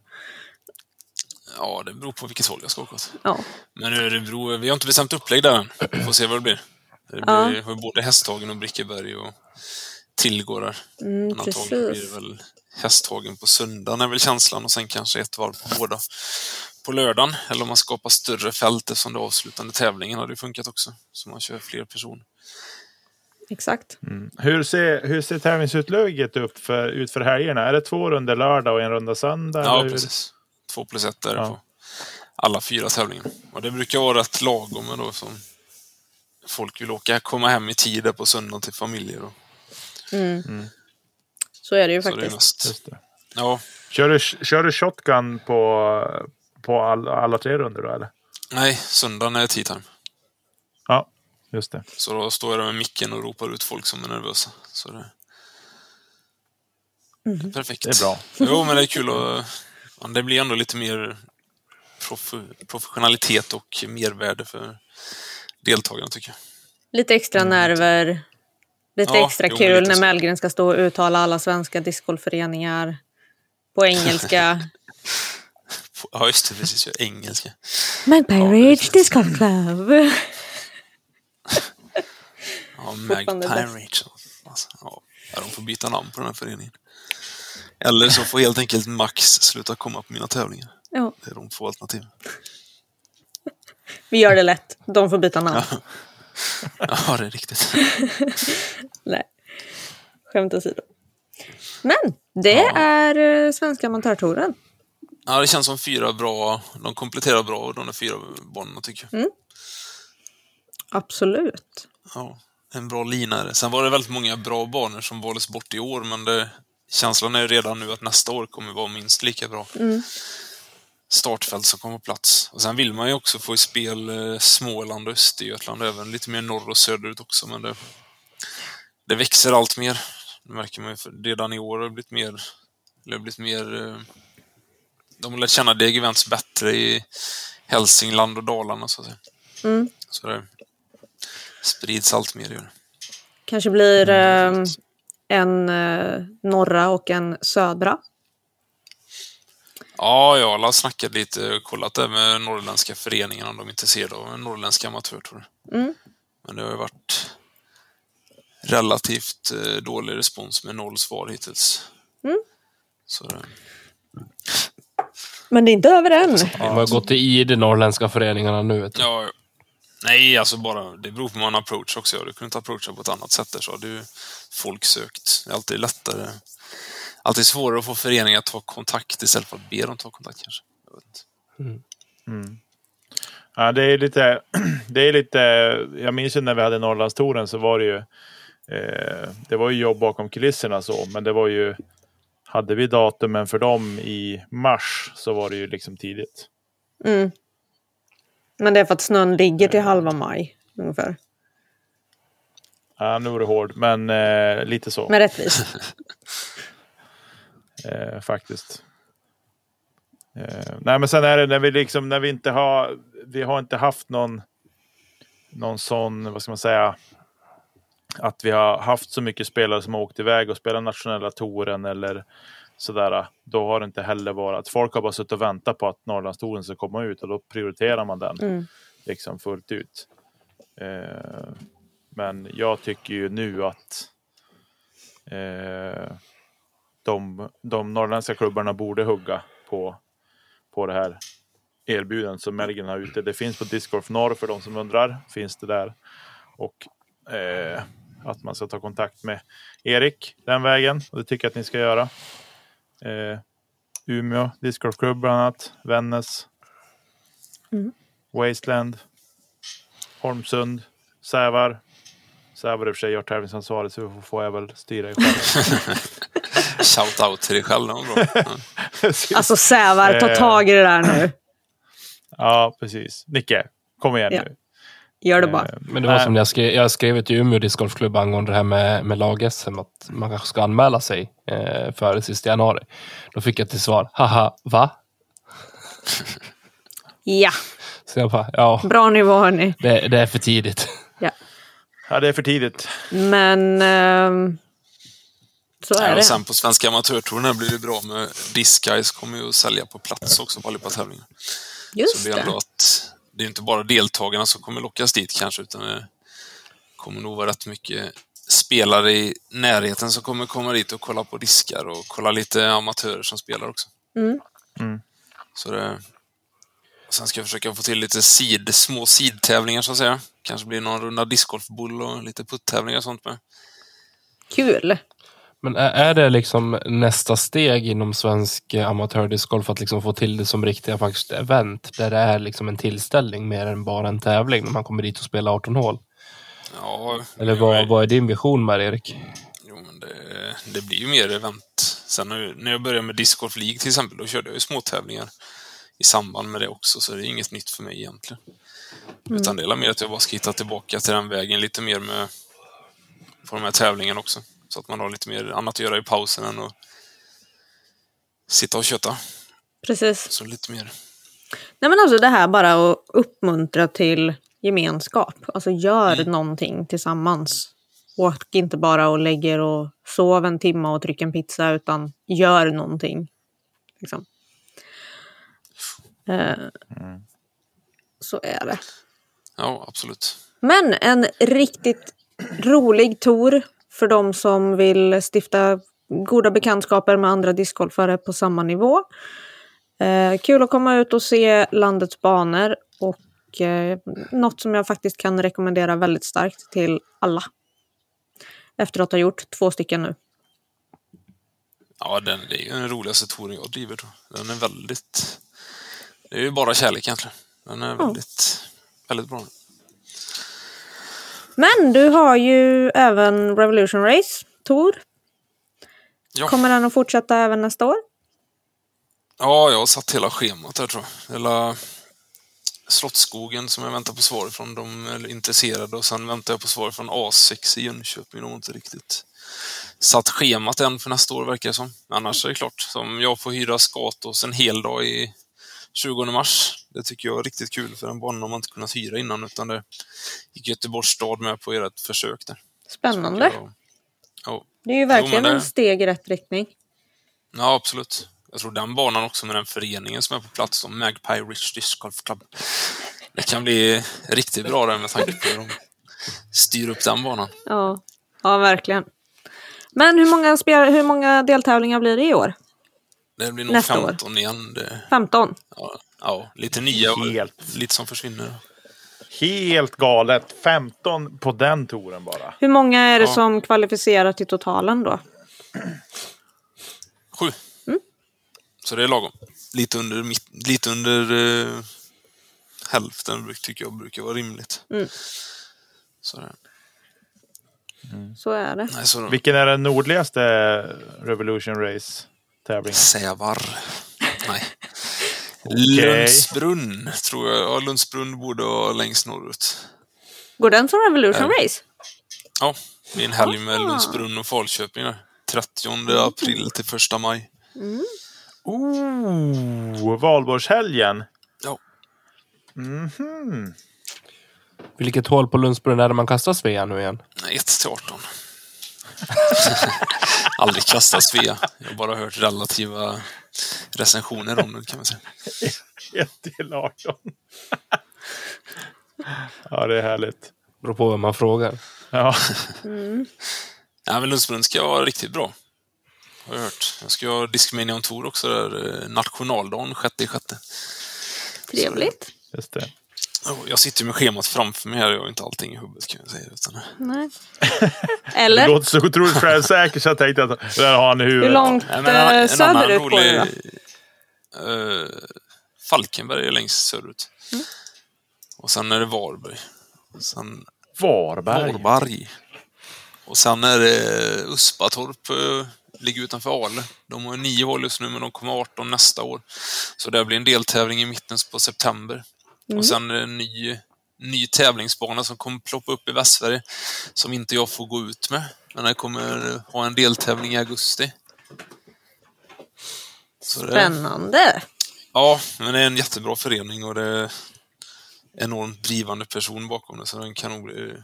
S4: Ja, det beror på vilket håll jag ska åka åt.
S1: Ja.
S4: Men Örebro, vi har inte bestämt upplägg där än. Vi får se vad det blir. Det blir vi har ju både Hästhagen och Brickeberg och Tillgård där. Men antagligen blir
S1: Mm, precis.
S4: det väl Hästhagen på söndagen är väl känslan och sen kanske ett varv på båda på lördagen. Eller om man skapar större fält eftersom det avslutande tävlingen hade ju funkat också. Så man kör fler personer.
S1: Exakt.
S3: Hur ser, hur ser tävlingsutlägget upp för, ut för helgerna? Är det två runder lördag och en runda söndag?
S4: Ja,
S3: eller hur?
S4: precis. Två plus ett där
S3: Ja.
S4: på alla fyra tävlingar. Och det brukar vara rätt lagom men då som folk vill åka, komma hem i tid där på söndagen till familjer. Och,
S1: Så är det ju
S4: så det är
S1: faktiskt.
S4: mest.
S3: Just det.
S4: Ja,
S3: Kör, du, kör du shotgun på, på all, alla tre runder då eller?
S4: nej, söndagen är tea time.
S3: Ja, just det.
S4: Så då står jag där med micken och ropar ut folk som är nervösa. Så det... Perfekt.
S3: Det är bra.
S4: Jo, men det är kul att... ja, Det blir ändå lite mer proff... professionalitet och mervärde för deltagarna, tycker jag.
S1: Lite extra nerver. Lite
S4: Mm. Ja,
S1: extra
S4: jo, men
S1: kul
S4: lite
S1: när
S4: så.
S1: Mellgren ska stå och uttala alla svenska discgolfföreningar på
S4: [laughs]
S1: engelska.
S4: Ja, just det. Precis. Jag är engelska.
S1: Magpie Ridge
S4: Ridge
S1: Disc Golf Club.
S4: Ja,
S1: Fortfarande
S4: Magpie Rachel. Alltså, ja. Ja, De får byta namn på den här föreningen. Eller så får helt enkelt Max sluta komma på mina tävlingar.
S1: Ja,
S4: Det är de två alternativen.
S1: vi gör det lätt. De får byta namn.
S4: Ja, det är riktigt.
S1: Nej, skämt åsido. Men det är eh, Svenska Amatörtouren.
S4: Ja, det känns som fyra bra. De kompletterar bra och de är fyra banorna tycker jag.
S1: Absolut.
S4: Ja, en bra lina är det. Sen var det väldigt många bra banor som valdes bort i år, men det, känslan är ju redan nu att nästa år kommer vara minst lika bra. Startfält som kommer på plats. Och sen vill man ju också få i spel eh, Småland och Östergötland, även lite mer norr och söderut också, men det, det växer allt mer. Det märker man ju för redan i år har det blivit mer, det har blivit mer eh, de har lärt känna DG Events bättre i Hälsingland och Dalarna så att säga. Så det sprids allt mer. Gör. det.
S1: Kanske blir
S4: Mm,
S1: eh, en eh, norra och en södra.
S4: Ja, jag har snackat lite och kollat det med norrländska föreningen om de är intresserade av en norrländsk amatörtour.
S1: Mm.
S4: Men det har ju varit relativt eh, dålig respons med noll svar hittills.
S1: Mm.
S4: Så, eh, det-
S1: Men det är inte över än.
S5: De har gått i de norrländska föreningarna nu. Vet du.
S4: ja, ja. nej, alltså bara, det beror på hur man approach också. Ja. Du kunde inte approacha på ett annat sätt där så hade ju folk sökt. Det är alltid lättare. Alltid svårare att få föreningar att ta kontakt istället för att be dem ta kontakt kanske. Jag vet inte.
S3: Ja, det är lite, [clears throat] det är lite, jag minns ju när vi hade Norrlandstouren så var det ju, eh, det var ju jobb bakom kulisserna så, men det var ju, hade vi datumen för dem i mars så var det ju liksom tidigt.
S1: Mm. Men det är för att snön ligger till halva maj ungefär.
S3: Ja, nu är det hård, men eh, lite så
S1: Men
S4: [laughs]
S1: rättvist.
S3: eh, faktiskt. Eh, nej, men sen är det när vi liksom, när vi inte har, vi har inte haft någon, någon sån, vad ska man säga, att vi har haft så mycket spelare som har åkt iväg och spelat nationella touren eller sådär. Då har det inte heller varit att folk har bara suttit och väntat på att Norrlandstouren ska komma ut och då prioriterar man den
S1: Mm.
S3: liksom fullt ut. Eh, men jag tycker ju nu att eh, de, de norrländska klubbarna borde hugga på, på det här erbjudandet som Melgen har ute. Det finns på Discord Norr för de som undrar. Finns det där. Och eh, att man ska ta kontakt med Erik den vägen. Och det tycker jag att ni ska göra. Eh, Umeå Discordklubb bland annat. Vännäs. Wasteland, Holmsund, Sävar. Sävar i och för sig har tävlingsansvaret så då får jag väl styra i själv.
S4: Shout out till dig själv, det var
S1: [laughs]
S4: bra. Ja.
S1: Alltså Sävar, ta
S3: Eh.
S1: tag i det där nu.
S3: ja, precis. Nicke, kom igen
S1: Ja.
S3: nu.
S1: Gör det bara.
S3: Eh,
S5: Men det var
S3: Nej.
S5: som jag skrev, jag skrev till Umeå discgolfklubb angående det här med, med lag-SM, att man kanske ska anmäla sig eh, före sista januari. Då fick jag till svar, haha, va?
S1: Ja,
S5: Så jag bara, ja,
S1: bra nivå hörni.
S5: det, det är för tidigt. [laughs]
S1: Ja.
S3: Ja, det är för tidigt.
S1: Men ehm, så är
S4: Ja,
S1: det.
S4: och sen på Svenska Amatörtouren här blir det bra med Disguise kommer ju att sälja på plats också på allihopa tävlingar. Så
S1: Just
S4: det är ändå
S1: det.
S4: att det är inte bara deltagarna som kommer lockas dit kanske utan det kommer nog vara rätt mycket spelare i närheten som kommer komma dit och kolla på diskar och kolla lite amatörer som spelar också.
S1: Mm.
S3: Mm.
S4: Så det... och Sen ska jag försöka få till lite sid, små sidtävlingar så att säga. Kanske blir någon runda discgolfboll och lite puttävlingar och sånt med.
S1: Kul.
S5: Men är, är det liksom nästa steg inom svensk eh, amatördiscgolf att liksom få till det som riktiga faktiskt event, där det är liksom en tillställning mer än bara en tävling, när man kommer dit och spelar 18 hål?
S4: Ja,
S5: Eller
S4: jag är-
S5: vad, vad är din vision med det, Erik?
S4: Jo, men det, det blir ju mer event. Sen när, när jag började med Discord League till exempel, då körde jag ju småtävlingar i samband med det också, så det är inget nytt för mig egentligen. Utan det är mer att jag bara ska hitta tillbaka till den vägen lite mer med på de här tävlingarna också. Så att man har lite mer annat att göra i pausen än att sitta och köta.
S1: Precis.
S4: Så lite mer.
S1: Nej men alltså det här bara att uppmuntra till gemenskap. Alltså gör någonting tillsammans. Åk inte bara och lägger och sov en timme och tryck en pizza utan gör någonting. Liksom. Eh, Så är det.
S4: Ja, absolut.
S1: Men en riktigt rolig tour för de som vill stifta goda bekantskaper med andra discgolfare på samma nivå. Eh, kul att komma ut och se landets banor och eh, något som jag faktiskt kan rekommendera väldigt starkt till alla. Efter att ha gjort två stycken nu.
S4: Ja, den, det är ju den roligaste touren jag driver. Då. Den är väldigt... Det är ju bara kärlek egentligen. Den är väldigt, väldigt bra.
S1: Men du har ju även Revolution Race Tour.
S4: Ja.
S1: Kommer den att fortsätta även nästa år?
S4: Ja, jag har satt hela schemat där tror jag. Hela Slottsskogen som jag väntar på svar från. De är intresserade och sen väntar jag på svar från A6 i Jönköping. De har inte riktigt satt schemat än för nästa år verkar det som. Annars är det klart. Som jag får hyra Skatås en hel dag i 20 mars. Det tycker jag är riktigt kul, för den banan har man inte kunnat hyra innan, utan det gick Göteborgs stad med på ert försök där.
S1: Spännande.
S4: Ja, ja.
S1: Det är ju verkligen
S4: men det-
S1: en steg i rätt riktning.
S4: Ja, absolut. Jag tror den banan också med den föreningen som är på plats, då, Magpie Rich Disc Golf Club. Det kan bli riktigt bra där med tanke på hur de styr upp den banan.
S1: Ja, ja verkligen. Men hur många, spel, hur många deltävlingar blir det i år?
S4: Det blir nog
S1: Nästa år.
S4: 15 igen. Det,
S1: 15?
S4: ja, ja, lite nya och
S3: Helt.
S4: lite som försvinner.
S3: Helt galet. 15 på den touren bara.
S1: Hur många är det
S4: Ja.
S1: som kvalificerar till totalen då?
S4: Sju.
S1: Mm.
S4: Så det är lagom. Lite under, mitt, lite under eh, hälften bruk- tycker jag brukar vara rimligt.
S1: Mm.
S4: Så, det-
S1: Så är det.
S4: nej, så
S3: Vilken är den nordligaste Revolution Race-tävlingen?
S4: Sävar. Nej. Lundsbrunn tror jag. Ja, Lundsbrunn borde vara längst norrut.
S1: Går den som Revolution Race?
S4: Ja, det är en helg med Lundsbrunn och Falköping där. 30 april till 1 maj.
S3: Oh, valborgshelgen.
S4: Ja.
S5: Vilket hål på Lundsbrunn är det man kastar Svea nu igen?
S4: 1 till 18. Aldrig kastat Svea. Jag har bara hört relativa recensioner om den kan man säga.
S3: 1 till 18. [laughs] ja, det är härligt.
S5: Beror på vem man frågar.
S3: Ja.
S4: Nej, men Lundsbrunn ska vara riktigt bra. Har jag hört. Jag ska ha Discmanion Tour också där. eh, Nationaldagen 6 sjätte.
S1: Trevligt.
S3: Just det.
S4: Ja, Oh, Jag sitter ju med schemat framför mig här. Jag har inte allting i huvudet kan jag säga. Utan... [laughs]
S1: Nej.
S3: Du
S1: Eller?
S3: låter så otroligt självsäker så jag tänkte att där har han i
S1: Hur
S3: huvudet.
S1: långt
S4: Nej, men
S1: eh,
S4: en annan
S1: söderut går det då?
S4: eh, Falkenberg är längst söderut.
S1: Mm.
S4: Och sen är det Varberg. Och sen
S3: Varberg.
S4: Varberg. Och sen är det Uspatorp, eh, ligger utanför Ale. De har nio hål just nu, men de kommer 18 nästa år. Så det blir en deltävling i mitten på september. Och sen är det en ny, ny tävlingsbana som kommer ploppa upp i Västsverige, som inte jag får gå ut med. Men jag kommer ha en deltävling i augusti. Så det,
S1: Spännande.
S4: ja, men det är en jättebra förening och det är enormt drivande person bakom det, så den kan nog bli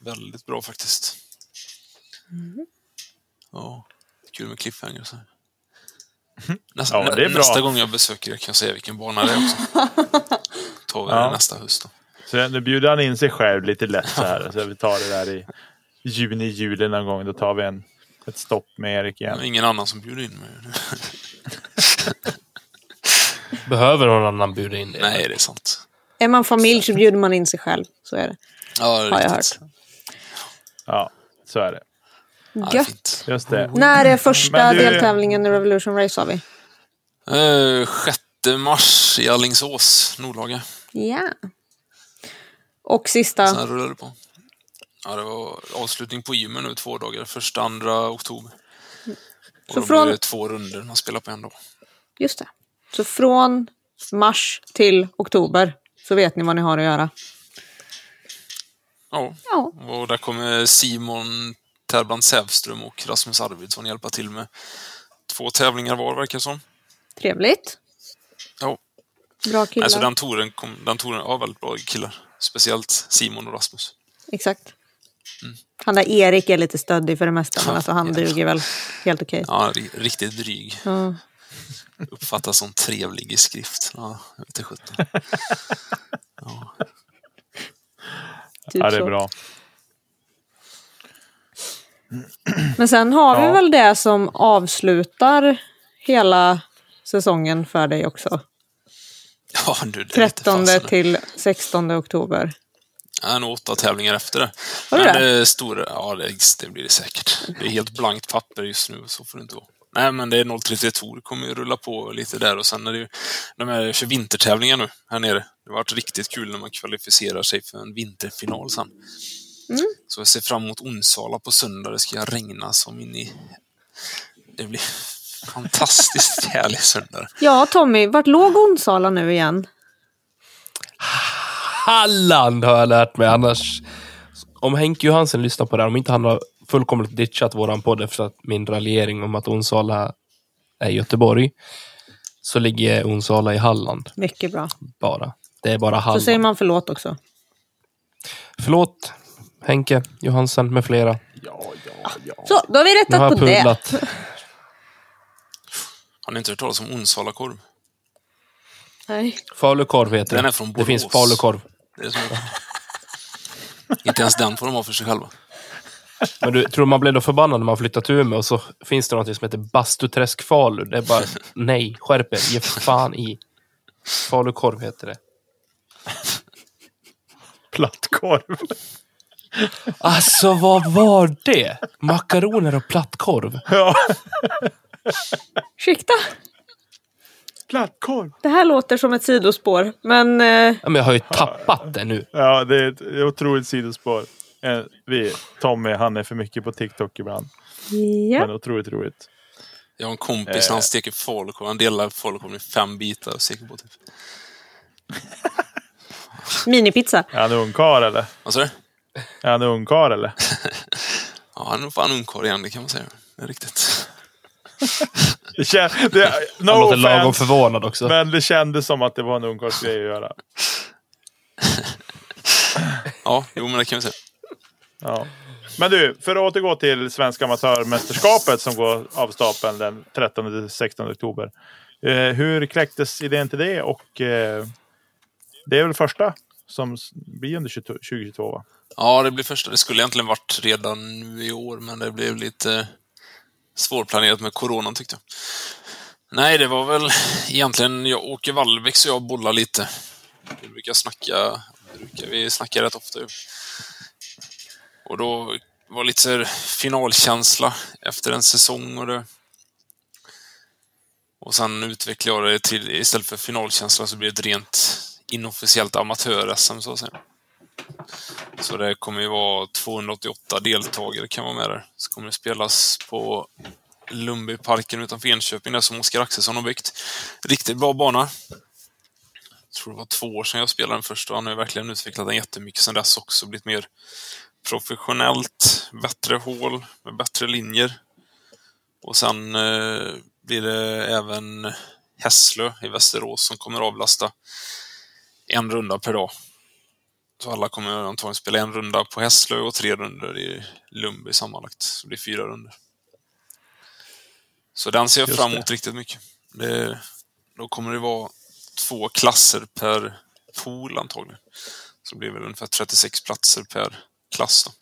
S4: väldigt bra faktiskt.
S1: Mm.
S4: Ja, kul med cliffhanger och så. här. Nästa,
S3: Mhm. Ja, det är bra.
S4: nästa gång jag besöker er kan jag säga vilken bana det är
S1: [laughs]
S4: också. Tar vi det
S3: Ja.
S4: nästa höst då.
S3: Så nu bjuder han in sig själv lite lätt så här. Så vi tar det där i juni, juli någon gång. Då tar vi en, ett stopp med Erik
S4: Det är
S3: igen.
S4: ingen annan som bjuder in mig.
S3: [laughs]
S5: Behöver någon annan bjuda in dig?
S4: Nej, det är sant.
S1: Är man familj så bjuder man in sig själv. Så är det.
S4: Ja, det är
S1: Har jag
S4: riktigt.
S3: Ja, så är det.
S4: Ja, det är
S1: Gött.
S4: fint.
S3: Just det.
S1: När är första
S3: Men du-
S1: deltävlingen i Revolution Race har vi?
S4: Eh, 6 mars i Alingsås, Nordhaga.
S1: Ja. Och sista.
S4: Sen rullade det på. Ja, det var avslutning på gymmen nu två dagar. Första, andra oktober. Och
S1: Så
S4: då
S1: från-
S4: blir det två runder man spelar på en dag.
S1: Just det. Så från mars till oktober så vet ni vad ni har att göra.
S4: Ja.
S1: Ja.
S4: Och där kommer Simon Terbrand Sävström och Rasmus Arvidsson hjälpa till med två tävlingar var, verkar det som.
S1: Trevligt.
S4: Ja.
S1: Bra killar.
S4: Alltså den touren, kom, den touren, ja väldigt bra killar. Speciellt Simon och Rasmus.
S1: Exakt. Han där Erik är lite stöddig för det mesta, men alltså han duger väl helt okej.
S4: Ja, ri- riktigt dryg.
S1: Ja.
S4: Uppfattas som trevlig i skrift. Ja, jag vete sjutton. [laughs]
S1: typ
S3: Ja, det är
S1: så.
S3: bra.
S1: Men sen har vi
S3: Ja.
S1: väl det som avslutar hela säsongen för dig också.
S4: Ja, du, det vete
S1: 13
S4: fasen.
S1: till 16 oktober.
S4: Ja, nog åtta tävlingar efter det.
S1: Var det
S4: Men
S1: det?
S4: det är stora, ja det, det blir det säkert. Det är helt blankt papper just nu, så får det inte vara. Nej, men det är 032 Tour kommer ju rulla på lite där och sen är det ju de här kör vintertävlingar nu här nere. Det har varit riktigt kul när man kvalificerar sig för en vinterfinal sen. Så jag ser fram emot Onsala på söndag. Det ska regna som in i... Det blir fantastiskt härlig söndag.
S1: Ja, Tommy, vart låg Onsala nu igen?
S5: Halland har jag lärt mig annars. Om Henke Johansen lyssnar på det här, om inte han har fullkomligt ditchat våran podd efter att min raljering om att Onsala är Göteborg.
S2: så ligger Onsala i Halland
S1: Mycket bra.
S2: bara. Det är bara
S1: Så
S2: Halland.
S1: säger man förlåt också.
S2: Förlåt, Henke Johansen med flera.
S1: Så, då har vi
S2: Nu har
S1: rättat
S2: jag
S1: på det.
S2: pudlat.
S4: Har ni inte hört talas om Onsalakorv?
S1: Nej.
S2: Falukorv heter
S4: Den
S2: det.
S4: är från
S2: Det
S4: Borås.
S2: finns falukorv.
S4: Det är så mycket. Inte ens den får de ha för sig själva.
S2: Men du, tror du man blev då förbannad när man flyttade till Umeå och så finns det något som heter Bastuträsk Falu. Det är
S4: [laughs]
S2: bara, nej, skärp er, ge fan i. Falukorv heter det.
S3: Plattkorv.
S2: Alltså, vad var det? Makaroner och plattkorv.
S3: Ja.
S1: Ursäkta,
S3: Plattkorv.
S1: det här låter som ett sidospår. Men eh,
S2: Ja, men jag har ju tappat det nu.
S3: Ja, det är ett otroligt sidospår. Eh, Vi, Tommy, han är för mycket på TikTok ibland.
S1: ja.
S3: Men otroligt roligt.
S4: Jag har en kompis, han steker falukorv. Han delar falukorven i fem bitar och steker på typ.
S1: minipizza.
S3: Är han ungkarl eller?
S4: Vad sa du?
S3: Är han ungkarl eller?
S4: Ja, han är nog fan ungkarl igen, det kan man säga. Det är riktigt.
S3: Det kän... det... No
S2: Han låter lagom
S3: offense,
S2: förvånad också.
S3: Oh, Men det kändes som att det var en ungkarlsgrej att göra.
S4: Ja, jo men det kan vi säga.
S3: Ja. Men du, för att återgå till Svenska Amatörmästerskapet som går av stapeln den 13-16 oktober. Eh, hur kläcktes idén till det? Och eh, det är väl första som s- blir under 22 2022? Va?
S4: Ja, det blir första. Det skulle egentligen varit redan nu i år, men det blev lite svårplanerat med coronan tyckte jag. Nej, det var väl egentligen jag, Åke Wallbäck så jag bollar lite. Vi brukar snacka, brukar vi snacka rätt ofta ju. Och då var det lite så här finalkänsla efter en säsong och det. Och sen utvecklade jag det till, istället för finalkänsla så blir det ett rent inofficiellt amatör-SM så att säga. Så det kommer ju vara 288 deltagare kan vara med där. Så kommer det spelas på Lundbyparken utanför Enköping, där som Oskar Axelsson har byggt. Riktigt bra bana. Jag tror det var två år sedan jag spelade den först och han har ju verkligen utvecklat den jättemycket sedan dess också. Blivit mer professionellt, bättre hål med bättre linjer. Och sen eh, blir det även Hässlö i Västerås som kommer avlasta en runda per dag. Så alla kommer antagligen spela en runda på Hässlö och tre runder i Lundby sammanlagt. Så det blir fyra runder. Så den ser jag
S3: Just
S4: fram
S3: det.
S4: emot riktigt mycket. Det, då kommer det vara två klasser per pool antagligen. Så det blir väl ungefär 36 platser per klass. Då.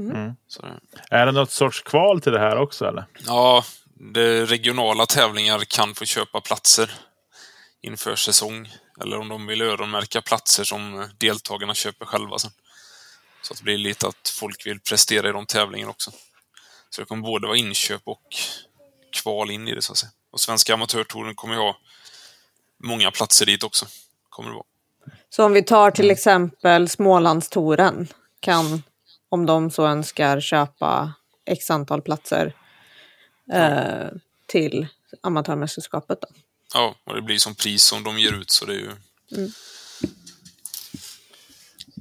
S3: Mm.
S4: Så det,
S3: Är det något sorts kval till det här också eller?
S4: Ja, det regionala tävlingar kan få köpa platser inför säsong. Eller om de vill öronmärka platser som deltagarna köper själva sen. Så att det blir lite att folk vill prestera i de tävlingarna också. Så det kommer både vara inköp och kval in i det så att säga. Och Svenska Amatörtouren kommer ju ha många platser dit också. Kommer det vara.
S1: Så om vi tar till exempel Smålandstouren kan, om de så önskar, köpa x antal platser eh, till amatörmästerskapet. Då.
S4: Ja, och det blir som pris som de ger ut så det är ju...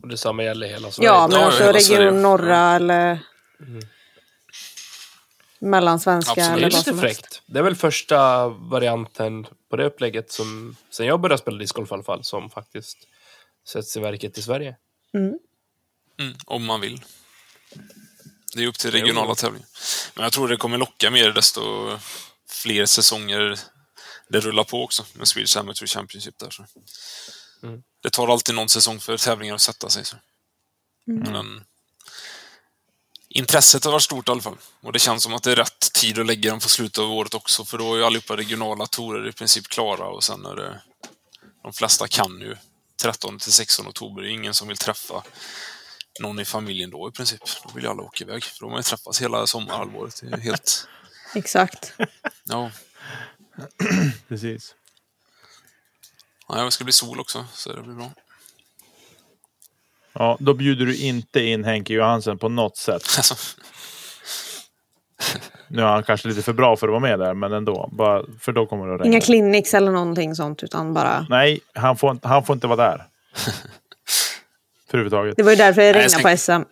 S2: Och detsamma gäller hela Sverige.
S1: Ja, men
S4: ja,
S1: alltså
S4: hela Sverige. Mm.
S1: region norra eller mellansvenska
S4: Absolut.
S2: Det
S1: eller
S2: är
S1: vad
S2: lite
S1: som helst.
S2: fräckt. Det är väl första varianten på det upplägget som, sen jag började spela discgolf i alla fall, som faktiskt sätts i verket i Sverige.
S4: Mm, om man vill. Det är upp till regionala tävlingar. Men jag tror det kommer locka mer desto fler säsonger det rullar på också med Swedish Amateur Championship där. Så. Det tar alltid någon säsong för tävlingar att sätta sig. Så. Men intresset har varit stort i alla fall. Och det känns som att det är rätt tid att lägga den på slutet av året också för då är ju allihopa regionala torer i princip klara och sen är det... De flesta kan ju 13 till 16 oktober. Det är ingen som vill träffa någon i familjen då i princip. Då vill ju alla åka iväg. För de har ju träffats hela sommarhalvåret. Det är ju helt...
S1: Exakt.
S4: Ja.
S3: Precis.
S4: Nej, det ska bli sol också, så det blir bra. [laughs]
S3: Ja, då bjuder du inte in Henke Johansen på något sätt.
S4: Alltså,
S3: Nu är han kanske lite för bra för att vara med där, men ändå. Bara, för då kommer det att regna.
S1: Inga clinics eller någonting sånt, utan bara...
S3: Nej, han får, inte- han får inte vara där. Överhuvudtaget.
S1: Det var ju därför det
S4: jag
S1: regnade
S4: ska-
S1: på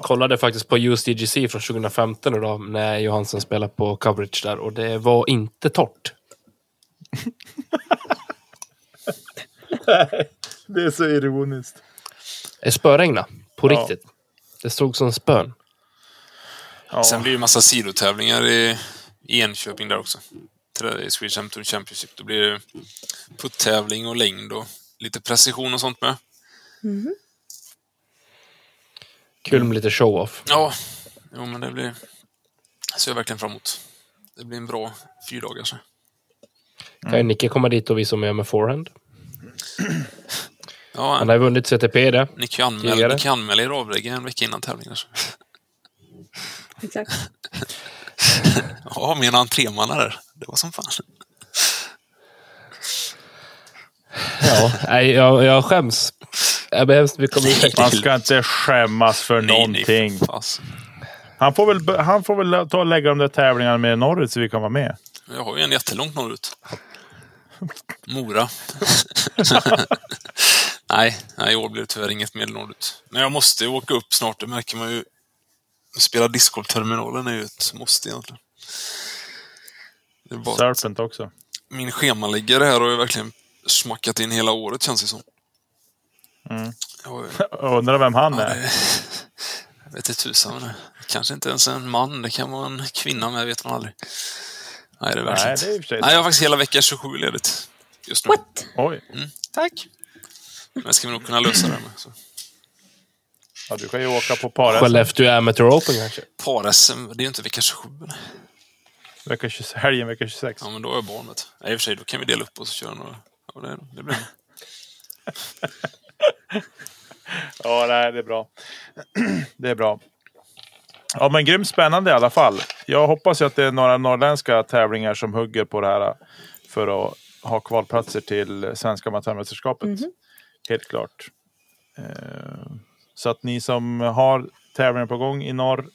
S1: SM.
S2: kollade faktiskt på USDGC från 2015 idag när Johansen spelade på coverage där och det var inte torrt.
S3: Det är så ironiskt.
S5: Det spöregna. På
S3: Ja.
S5: riktigt. Det stod som spön.
S3: Ja.
S4: Sen blir det ju massa sidotävlingar i i Enköping där också. Till det där I Swedish Hampton Championship. Då blir det puttävling och längd och lite precision och sånt med.
S5: Kul med lite show-off.
S4: Ja, jo men det blir... Det ser jag verkligen fram emot. Det blir en bra fyrdagars.
S5: Kan ju Nicke komma dit och visa om jag gör med forehand.
S4: Ja,
S5: Han har ju vunnit CTP det.
S4: ni kan ju anmäla,
S5: Tidigare.
S4: ni kan anmäla er avlägga en vecka innan tävlingen. så. [laughs]
S1: Exakt.
S4: Ja, mina entrémannar där. Det var som fan.
S5: Ja, nej, jag, jag skäms. Jag ber hemskt mycket om ursäkt.
S3: Man ska inte skämmas för
S4: Nej,
S3: någonting.
S4: nej, fas.
S3: Han får väl, han får väl ta och lägga de där tävlingarna med norrut så vi kan vara med.
S4: Jag har ju en jättelångt norrut. Mora. [laughs] nej, nej, i år blir det tyvärr inget medel norrut. Men jag måste ju åka upp snart, det märker man ju. Att Spela discgolfterminalen är ju ett måste egentligen. Det är bara att
S3: Serpent också.
S4: min schemaliggare här har ju verkligen smackat in hela året känns det som. Jag har ju-
S3: Jag Undrar vem han är.
S4: Jag vet inte tusan. men det Kanske inte ens en man. Det kan vara en kvinna med, vet man aldrig. Nej, det är
S3: Nej,
S4: verkligen
S3: det är i och för sig
S4: Nej, jag har faktiskt hela vecka 27 ledigt just nu.
S1: What?
S3: Oj.
S4: Tack! Men det ska vi nog kunna lösa det här med. Så.
S3: Ja, du kan ju åka på paret
S5: Skellefteå Amateur Open kanske.
S4: Par-SM, det är ju inte vecka 27. eller?
S3: vecka 26, helgen vecka 26.
S4: Ja, men då har jag barnet. Nej, i och för sig, då kan vi dela upp oss och köra några. Ja, det, det blir bra.
S3: Ja, nej, det är bra. [clears throat] Det är bra. Ja, men grymt spännande i alla fall. Jag hoppas ju att det är några norrländska tävlingar som hugger på det här äh, för att ha kvalplatser till Svenska amatörmästerskapet. Helt klart. Eh, Så att ni som har tävlingar på gång i norr,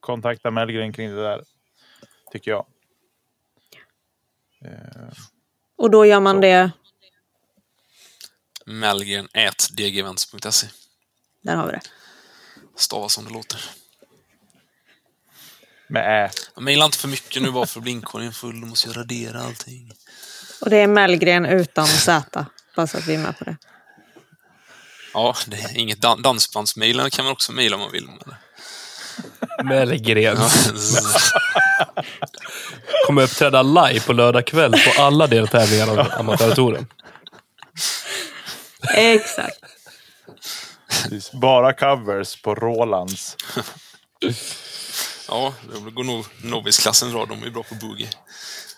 S3: kontakta Mellgren kring det där. Tycker jag.
S1: Och då gör man det...
S4: Mellgren, ät dgevents.se.
S1: Där har vi det.
S4: Stavas som det låter.
S3: Med ä.
S4: Maila inte för mycket nu bara för blinkkorgen är full. Då måste jag radera allting.
S1: Och det är Mellgren utan Z. Bara så att vi är med på det.
S4: Ja, det är inget dan- dansbandsmejl. kan man också mejla om man vill. Men...
S5: Mellgren.
S4: Ja.
S5: Kommer uppträda live på lördag kväll på alla deltävlingar av amatörtouren.
S1: Exakt.
S3: Precis. Bara covers på Rolands.
S4: Ja, det går nog novisklassen bra. De är ju bra på boogie.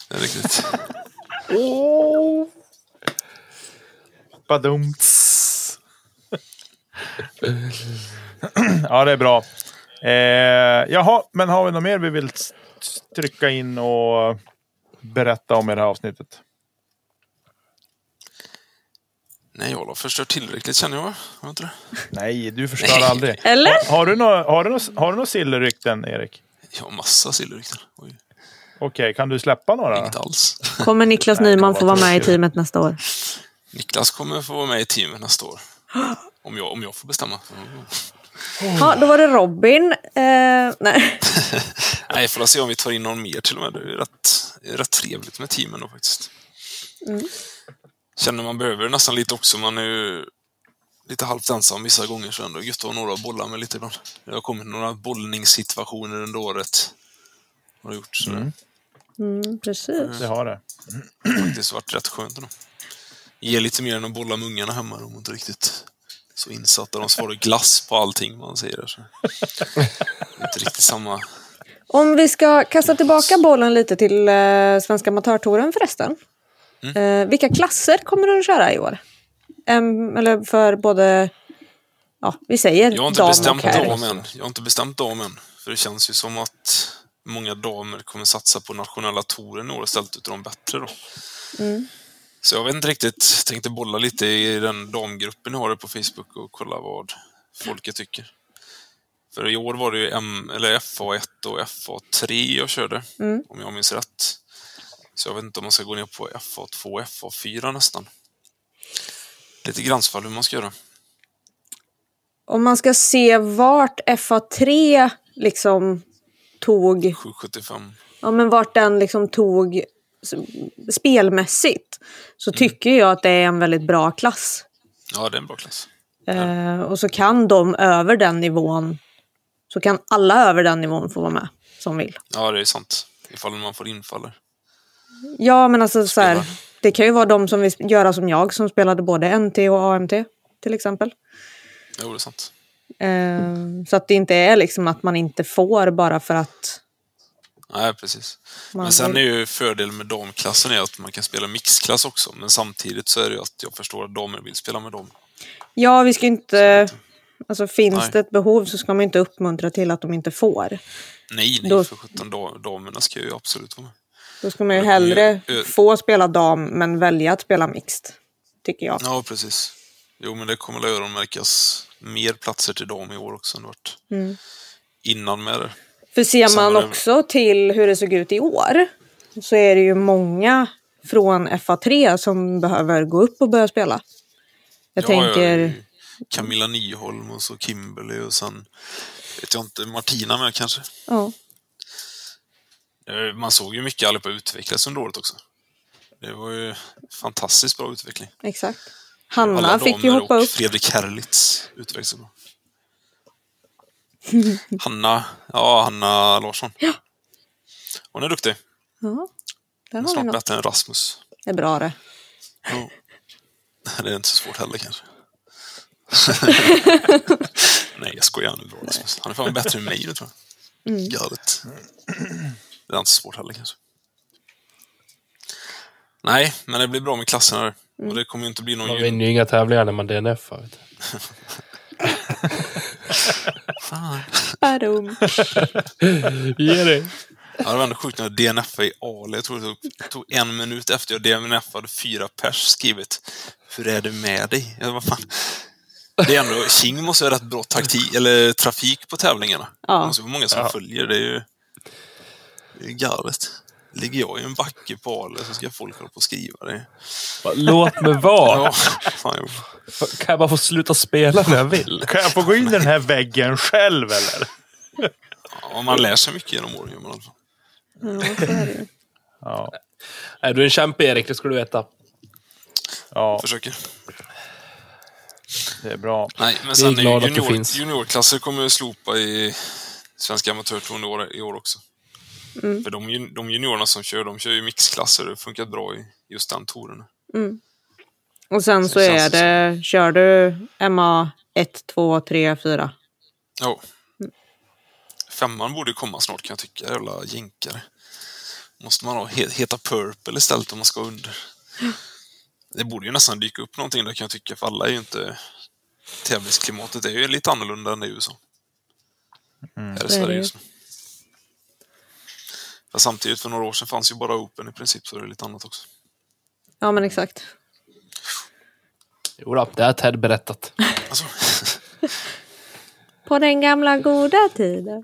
S4: Det är riktigt.
S3: Badumts. ja, det är bra. Eh, jaha, men har vi något mer vi vill s- s- trycka in och berätta om i det här avsnittet?
S4: Nej, jag har förstört tillräckligt känner jag. Har jag inte det?
S3: Nej, du förstör aldrig.
S1: Eller?
S3: Har, har du några har du nå- har du nå sillerrykten, Erik?
S4: Jag har massa sillrykten. Oj,
S3: Okej, kan du släppa några?
S4: Inget alls.
S1: Kommer Niklas Nyman få vara med i teamet nästa år?
S4: Niklas kommer få vara med i teamet nästa år. Om jag, om jag får bestämma. Mm.
S1: Ja, då var det Robin. Eh, nej.
S4: Nej, jag får väl se om vi tar in någon mer till och med. Det är ju rätt, det är rätt trevligt med teamen då faktiskt. Känner man behöver det nästan lite också. Man är ju lite halvt ensam vissa gånger så ändå gött att ha några att bolla med lite ibland. Det har kommit några bollningssituationer under året. Har det gjort. Så det-
S1: Mm, precis.
S3: Det har det.
S4: faktiskt varit rätt skönt ändå. Ge lite mer än att bolla med ungarna hemma. De är inte riktigt så insatta. De svarar glass på allting man säger. där, Så. inte riktigt samma.
S1: Om vi ska kasta tillbaka bollen lite till eh, Svenska amatörtouren förresten.
S4: Mm.
S1: Eh, vilka klasser kommer du att köra i år? Em, eller för både... Ja, vi säger
S4: Jag har inte
S1: dam
S4: bestämt
S1: och herr.
S4: dam än. Jag har inte bestämt dam än. För det känns ju som att många damer kommer satsa på nationella touren i år istället utav de bättre då.
S1: Mm.
S4: Så jag vet inte riktigt. Tänkte bolla lite i den damgruppen jag har på Facebook och kolla vad folket tycker. För i år var det ju M, eller FA1 och FA3 jag körde,
S1: Mm.
S4: om jag minns rätt. Så jag vet inte om man ska gå ner på FA2 och FA4 nästan. Lite gränsfall hur man ska göra.
S1: Om man ska se vart FA3 liksom tog...
S4: 775.
S1: Ja, men vart den liksom tog spelmässigt så
S4: Mm.
S1: tycker jag att det är en väldigt bra klass.
S4: Ja, det är en bra klass.
S1: Eh, och så kan de över den nivån, så kan alla över den nivån få vara med som vill.
S4: Ja, det är sant. Ifall man får infaller.
S1: Ja, men alltså så här,
S4: Spela.
S1: det kan ju vara de som vill göra som jag som spelade både NT och AMT till exempel.
S4: Jo, det är sant. Mm.
S1: Eh, så att det inte är liksom att man inte får bara för att
S4: Nej, precis.
S1: Man
S4: men sen är
S1: vill-
S4: ju fördelen med damklassen är att man kan spela mixklass också, men samtidigt så är det ju att jag förstår att damer vill spela med dem.
S1: ja, vi ska ju inte... Alltså finns
S4: Nej.
S1: det ett behov så ska man ju inte uppmuntra till att de inte får.
S4: Nej, nej,
S1: Då-
S4: för sjutton, da- damerna ska ju absolut vara med.
S1: Då ska man ju
S4: Men det kommer ju-
S1: hellre
S4: eh,
S1: få spela dam men välja att spela mixed. Tycker jag.
S4: Ja, precis. Jo, men det kommer väl att öronmärkas mer platser till dam i år också än det vart
S1: Mm.
S4: innan med det.
S1: För ser
S4: Samma
S1: man
S4: där.
S1: också till hur det såg ut i år så är det ju många från FA3 som behöver gå upp och börja spela. Jag
S4: Ja,
S1: tänker...
S4: ja, Camilla Nyholm och så Kimberley och sen vet jag inte, Martina med kanske.
S1: Ja.
S4: Eh, Man såg ju mycket allihopa utvecklas under året också. Det var ju fantastiskt bra utveckling.
S1: Exakt.
S4: Alla
S1: Hanna fick ju
S4: damer
S1: hoppa
S4: och
S1: upp.
S4: Fredrik Herlitz
S1: [laughs]
S4: utvecklades så bra. Hanna, ja Hanna Larsson. Hon är duktig.
S1: Ja, där
S4: Hon är
S1: har vi
S4: snart
S1: något.
S4: bättre än Rasmus.
S1: Det är bra det.
S4: Jo. Det är inte så svårt heller kanske. Nej, jag skojar. Han är bra Rasmus. Han är fan bättre än mig nu tror jag. Galet. Det är inte så svårt heller kanske. Nej, men det blir bra med klasserna där. Och det kommer ju inte bli någon
S5: Man
S4: jul.
S5: vinner ju inga tävlingar när man DNF. Vet du.
S4: [laughs]
S1: Badum.
S5: Ge dig.
S4: Ja, det var ändå sjukt när jag DNFade i Ale. Jag tror det tog, tog en minut efter jag DNFade fyra pers skrivit Hur är det med dig? Jag, vad fan? Det är ändå, King måste ha rätt bra taktik, eller trafik på tävlingarna.
S1: Ja.
S4: Det måste vara många som följer. Det är ju det är ju galet. Ligger jag i en backe på Ale så ska folk hålla på och skriva det.
S5: Låt mig vara.
S4: Ja, fan, jag,
S5: Kan jag bara få sluta spela när jag vill?
S3: Kan jag få gå in i den här väggen själv eller?
S4: ja, man lär sig mycket genom åren. gör man i alla fall.
S3: Ja.
S5: Nej, du är en kämpe, Erik. Det ska du veta.
S3: ja,
S4: Försöker.
S3: det är bra.
S4: Nej, men
S5: Vi
S4: sen
S5: är glada att det
S4: junior,
S5: finns.
S4: juniorklasser kommer ju slopa i Svenska amatörtouren i år- i år också. För de, jun- de juniorerna som kör, de kör ju mixklasser. Det har funkat bra i just den touren.
S1: Och sen så
S4: Det
S1: är
S4: känns
S1: det... Kör du MA 1, 2, 3, 4?
S4: Ja.
S1: Mm.
S4: Femman borde ju komma snart kan jag tycka. Jävla jänkare. Måste man ha he- heta Purple istället om man ska under. Det borde ju nästan dyka upp någonting där kan jag tycka, för alla är ju inte... Tävlingsklimatet är ju lite annorlunda än det i USA. Här i
S1: det
S4: Sverige
S1: ju.
S4: just nu. Fast samtidigt, för några år sedan fanns ju bara Open i princip, så det är lite annat också.
S1: Ja, men exakt.
S4: Mm.
S5: Jo då, det har Ted [laughs] berättat.
S4: Alltså,
S1: På den gamla goda tiden.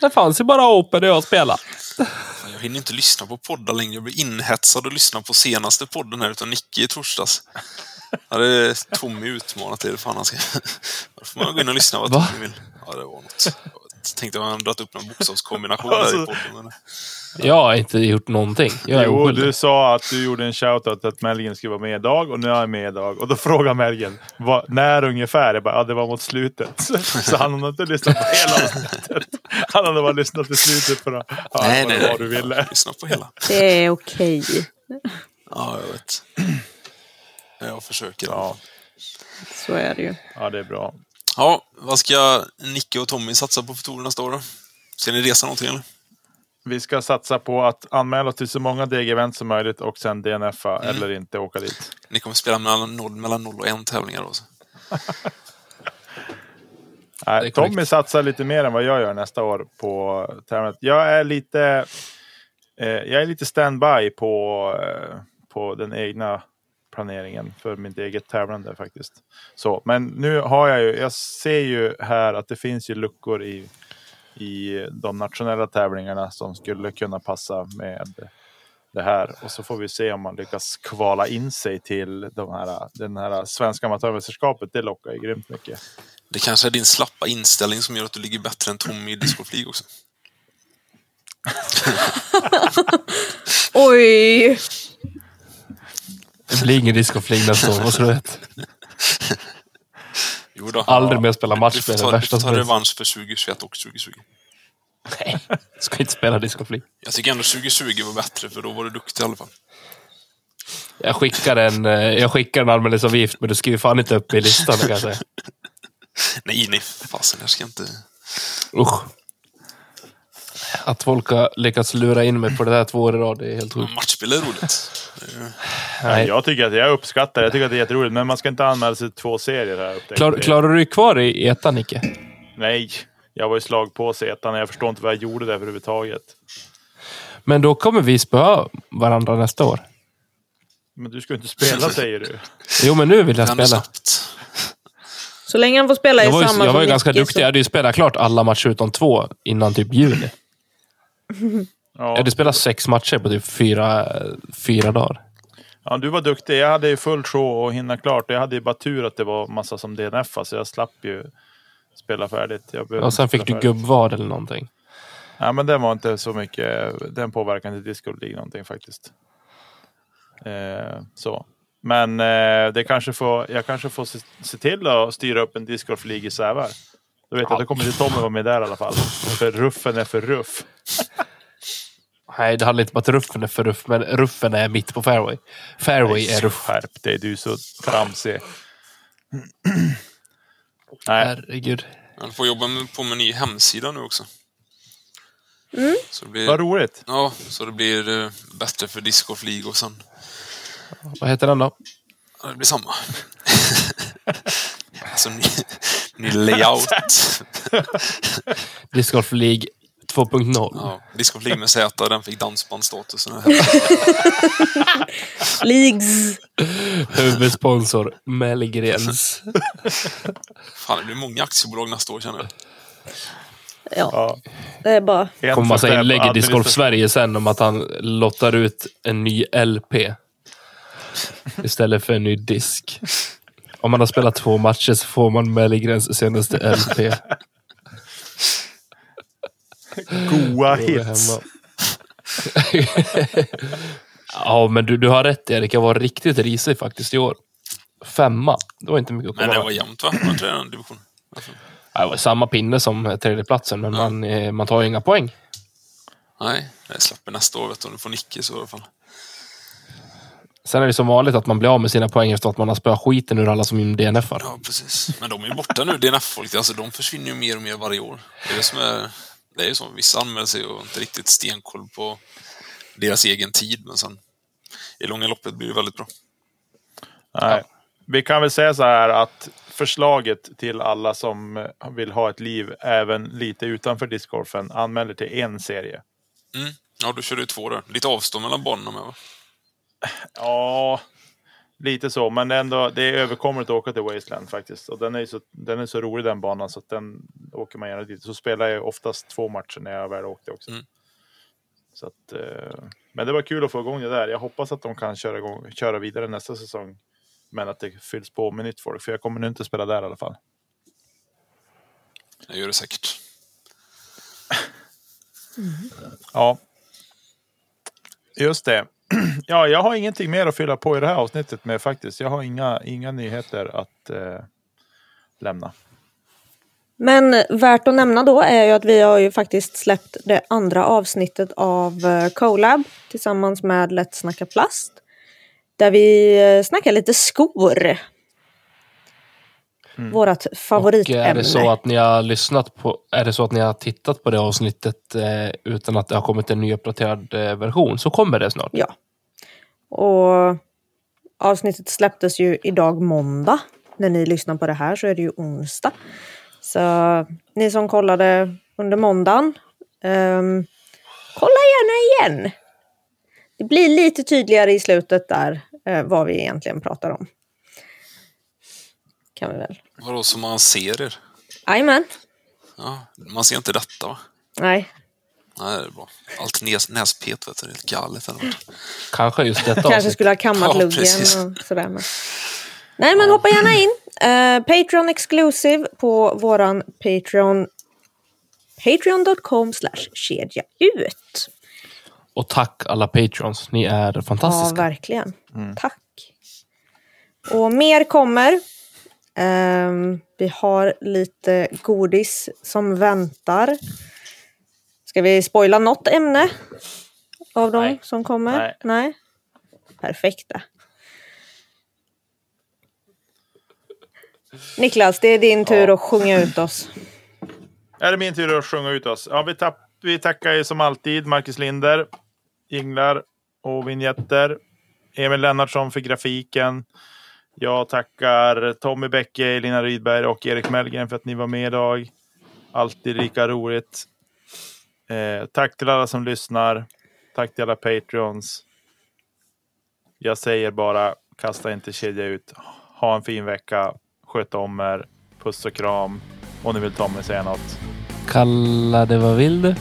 S5: Det fanns ju bara Open när jag spelade.
S4: fan, jag hinner inte lyssna på poddar längre. Jag blir inhetsad och lyssnar på senaste podden här utan Nicke i torsdags. Ja, det är Tommy utmanat det. är det Fan, han ska... Då får man gå in och lyssna vad
S5: Va?
S4: Tommy vill. Ja, det var något. Jag tänkte att han hade dragit upp någon bokstavskombination där
S3: Alltså.
S4: i podden. Men...
S5: Jag har inte gjort någonting. Jag är
S3: Jo,
S5: oskyldig.
S3: du sa att du gjorde en shoutout att Melgen skulle vara med idag och nu är han med idag. Och då frågar Melgen vad, när ungefär. Jag bara, ja, det var mot slutet. [laughs] Så han hade inte lyssnat på hela avsnittet. Han hade bara lyssnat till slutet för att höra
S4: Nej,
S3: vad
S4: nej,
S3: det var
S4: nej.
S3: du ville.
S4: Lyssna på hela.
S1: Det är okej.
S4: Ja, jag vet. Jag försöker.
S3: Ja,
S4: Ja.
S1: Så är det ju.
S3: ja, det är bra.
S4: vad ska Nicke och Tommy satsa på för touren nästa år då? Ska ni resa någonting eller?
S3: Vi ska satsa på att anmäla till så många DG-event som möjligt och sen DNFa
S4: Mm.
S3: eller inte åka dit.
S4: Ni kommer spela mellan noll, mellan noll och en tävlingar då? Så.
S3: Nej,
S5: Det är
S3: Tommy
S5: korrekt.
S3: satsar lite mer än vad jag gör nästa år på tävlandet. Jag är lite, eh, jag är lite standby på, eh, på den egna planeringen för mitt eget tävlande faktiskt. Så, men nu har jag ju, jag ser ju här att det finns ju luckor i, i de nationella tävlingarna som skulle kunna passa med det här. Och så får vi se om man lyckas kvala in sig till de här, den här svenska amatörmästerskapet. Det lockar ju grymt mycket.
S4: Det kanske är din slappa inställning som gör att du ligger bättre än Tommy i discoflyg också.
S1: Oj!
S2: Det blir ingen discofling nästa år, vad tror du?
S4: Jo då.
S2: Aldrig mer spela
S4: Du
S2: matchspel. det
S4: får ta, du
S2: värsta
S4: får ta
S2: som finns.
S4: revansch för 2021 och 2020.
S2: [laughs] Nej, ska inte spela discofling.
S4: Jag tycker ändå 2020 var bättre, för då var du duktig i alla fall.
S2: Jag skickar en, eh, jag skickar en anmälningsavgift, men du skriver fan inte upp i listan, det kan jag säga.
S4: Nej, nej, fasen, jag ska inte...
S2: Usch. Att folk har lyckats lura in mig på det där två år i rad, det är helt sjukt.
S4: Matchspel är roligt.
S3: Nej. Jag tycker att jag uppskattar det. Jag tycker att det är jätteroligt. Men man ska inte anmäla sig till två serier här. upptäckte
S2: Klar,
S3: jag.
S2: klarar du dig kvar i ettan, Nicke?
S3: Nej, jag var ju slag på Zetan. Jag förstår inte vad jag gjorde där överhuvudtaget.
S2: Men då kommer vi spöa varandra nästa år.
S3: Men du ska ju
S2: [laughs]
S3: inte spela säger du.
S2: Jo, men nu vill jag
S4: Kan du
S2: spela.
S4: snabbt.
S1: Så länge han får spela
S2: Jag
S1: i
S2: var ju,
S1: samma
S2: jag var ju
S1: som
S2: ganska
S1: Nicky,
S2: duktig. Jag hade ju spelat klart alla matcher utom två innan typ juni. Jag
S3: Ja.
S2: hade spelat sex matcher på typ fyra, fyra dagar.
S3: ja, du var duktig. Jag hade ju full show och hinna klart. Jag hade ju bara tur att det var massa som DNF, så alltså jag slapp ju spela färdigt. Jag behövde
S2: Och sen
S3: inte
S2: fick
S3: spela
S2: du
S3: färdigt.
S2: gubbvad eller någonting.
S3: Nej, men den var inte så mycket. Den påverkade inte Discord League någonting faktiskt. Eh, så. Men eh, det kanske får, jag kanske får se, se till att styra upp en Discord League i Sävar. Då vet jag att då kommer inte Tommy vara med där i alla fall. För ruffen är för ruff.
S2: Nej, det handlar inte om att ruffen är för ruff, men ruffen är mitt på fairway. Fairway är ruff.
S3: Skärp dig, du är så tramsig. Nej,
S2: Herregud.
S4: Han får jobba med, på en ny hemsida nu också. Så det
S3: vad
S4: blir,
S3: roligt.
S4: ja, så det blir eh, bättre för Disc Golf League och sen...
S2: Vad heter den då?
S4: Ja, det blir samma. [laughs] alltså, ny, ny layout.
S2: Disc Golf League 2.0.
S4: Ja, Disc Golf League med Z, den fick dansbandsstatus.
S1: Leagues.
S2: Huvudsponsor Mellgrens.
S4: Fan, det blir många aktiebolag nästa år känner jag.
S1: Ja,
S3: Ja.
S1: det är bara...
S3: En
S2: Kommer massa
S3: förstärkt
S2: inlägg i Disc Golf
S3: administration.
S2: Sverige sen om att han lottar ut en ny LP. Istället för en ny disk. Om man har spelat två matcher så får man Mellgrens senaste LP. Då är
S3: Goa
S2: det
S3: hits.
S2: hemma. [laughs] ja, men du, du har rätt Erik. Jag var riktigt risig faktiskt i år. Femma. Det var inte mycket att komma
S4: Men det
S2: med.
S4: var jämnt va? Var inte det den divisionen?
S2: Ja, Det var samma pinne som tredjeplatsen, men man, eh, man tar ju inga poäng.
S4: Nej, det släpper nästa år vet du. Om du får Nicke så i alla fall.
S2: Sen är det som vanligt att man blir av med sina poäng efter att man har spöat skiten ur alla som DNFar.
S4: Ja, precis. Men de är ju borta nu, DNF-folk. Alltså, de försvinner ju mer och mer varje år. Det är det som är... Det är ju som vissa anmäler sig och har inte riktigt stenkoll på deras egen tid, men sen i långa loppet blir det väldigt bra.
S3: Nej. Vi kan väl säga så här att förslaget till alla som eh, vill ha ett liv även lite utanför discgolfen anmäler till en serie.
S4: Mm. Ja, du körde ju två där. Lite avstånd mellan banorna med va?
S3: Ja, lite så, men ändå, det är överkomligt att åka till Wasteland faktiskt. Och den är ju så, den är så rolig den banan så att den åker man gärna dit. Så spelar jag oftast två matcher när jag väl åkte också.
S4: Mm.
S3: Så att, eh, men det var kul att få igång det där. Jag hoppas att de kan köra, igång, köra vidare nästa säsong. Men att det fylls på med nytt folk, för jag kommer nu inte spela där i alla fall.
S4: Det gör det säkert.
S3: Ja. Just det. [clears throat] Ja, jag har ingenting mer att fylla på i det här avsnittet med faktiskt. Jag har inga, inga nyheter att eh, lämna.
S1: Men värt att nämna då är ju att vi har ju faktiskt släppt det andra avsnittet av eh, Colab tillsammans med Lätt snacka plast. Där vi eh, snackar lite skor. Vårat
S2: Mm. Och
S1: favoritämne.
S2: är det så att ni har lyssnat på, är det så att ni har tittat på det avsnittet eh, utan att det har kommit en nyuppdaterad eh, version så kommer det snart.
S1: Ja. Och avsnittet släpptes ju idag måndag. När ni lyssnar på det här så är det ju onsdag. Så ni som kollade under måndagen, ehm, kolla gärna igen. Det blir lite tydligare i slutet där eh, vad vi egentligen pratar om. Kan vi väl?
S4: Vadå, som man ser er?
S1: Jajamän.
S4: Ja, man ser inte detta va?
S1: Nej.
S4: Nej, det är bra. Allt näs, näspet vet du, det är helt galet. Eller vad?
S2: Kanske just detta
S1: Kanske
S2: avsnitt.
S1: skulle ha kammat
S4: Ja,
S1: luggen
S4: precis.
S1: och sådär. Men... Nej, men hoppa gärna in. Eh, Patreon exclusive på våran Patreon. Patreon.com slash kedja ut.
S5: Och tack alla patrons. Ni är
S1: Ja,
S5: fantastiska.
S1: verkligen. Tack. Och mer kommer. Ehm, vi har lite godis som väntar. Ska vi spoila något ämne av de
S3: Nej.
S1: som kommer?
S3: Nej.
S1: Perfekta. Niklas, det är din tur att sjunga ut oss.
S3: Är det min tur att sjunga ut oss? Ja, vi, tapp, vi tackar ju som alltid Marcus Linder, jinglar och vignetter. Emil Lennartsson för grafiken. Jag tackar Tommy Bäcke, Lina Rydberg och Erik Mellgren för att ni var med idag. Alltid lika roligt. Eh, tack till alla som lyssnar. Tack till alla Patreons. Jag säger bara, kasta inte kedja ut. Ha en fin vecka. Sköt om er. Puss och kram. Om ni vill Tommy säga något.
S5: Kalla det vad vill du.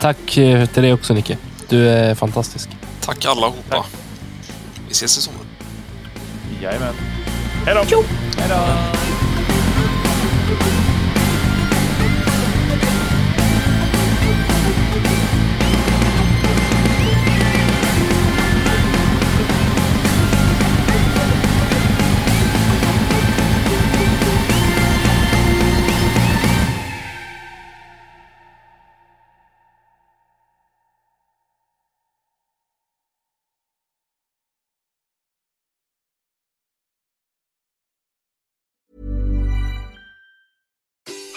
S5: Tack eh, till dig också Nicke. Du är fantastisk.
S4: Tack allihopa. Vi ses i sommar.
S3: Jajamän. Hej då! Hej då!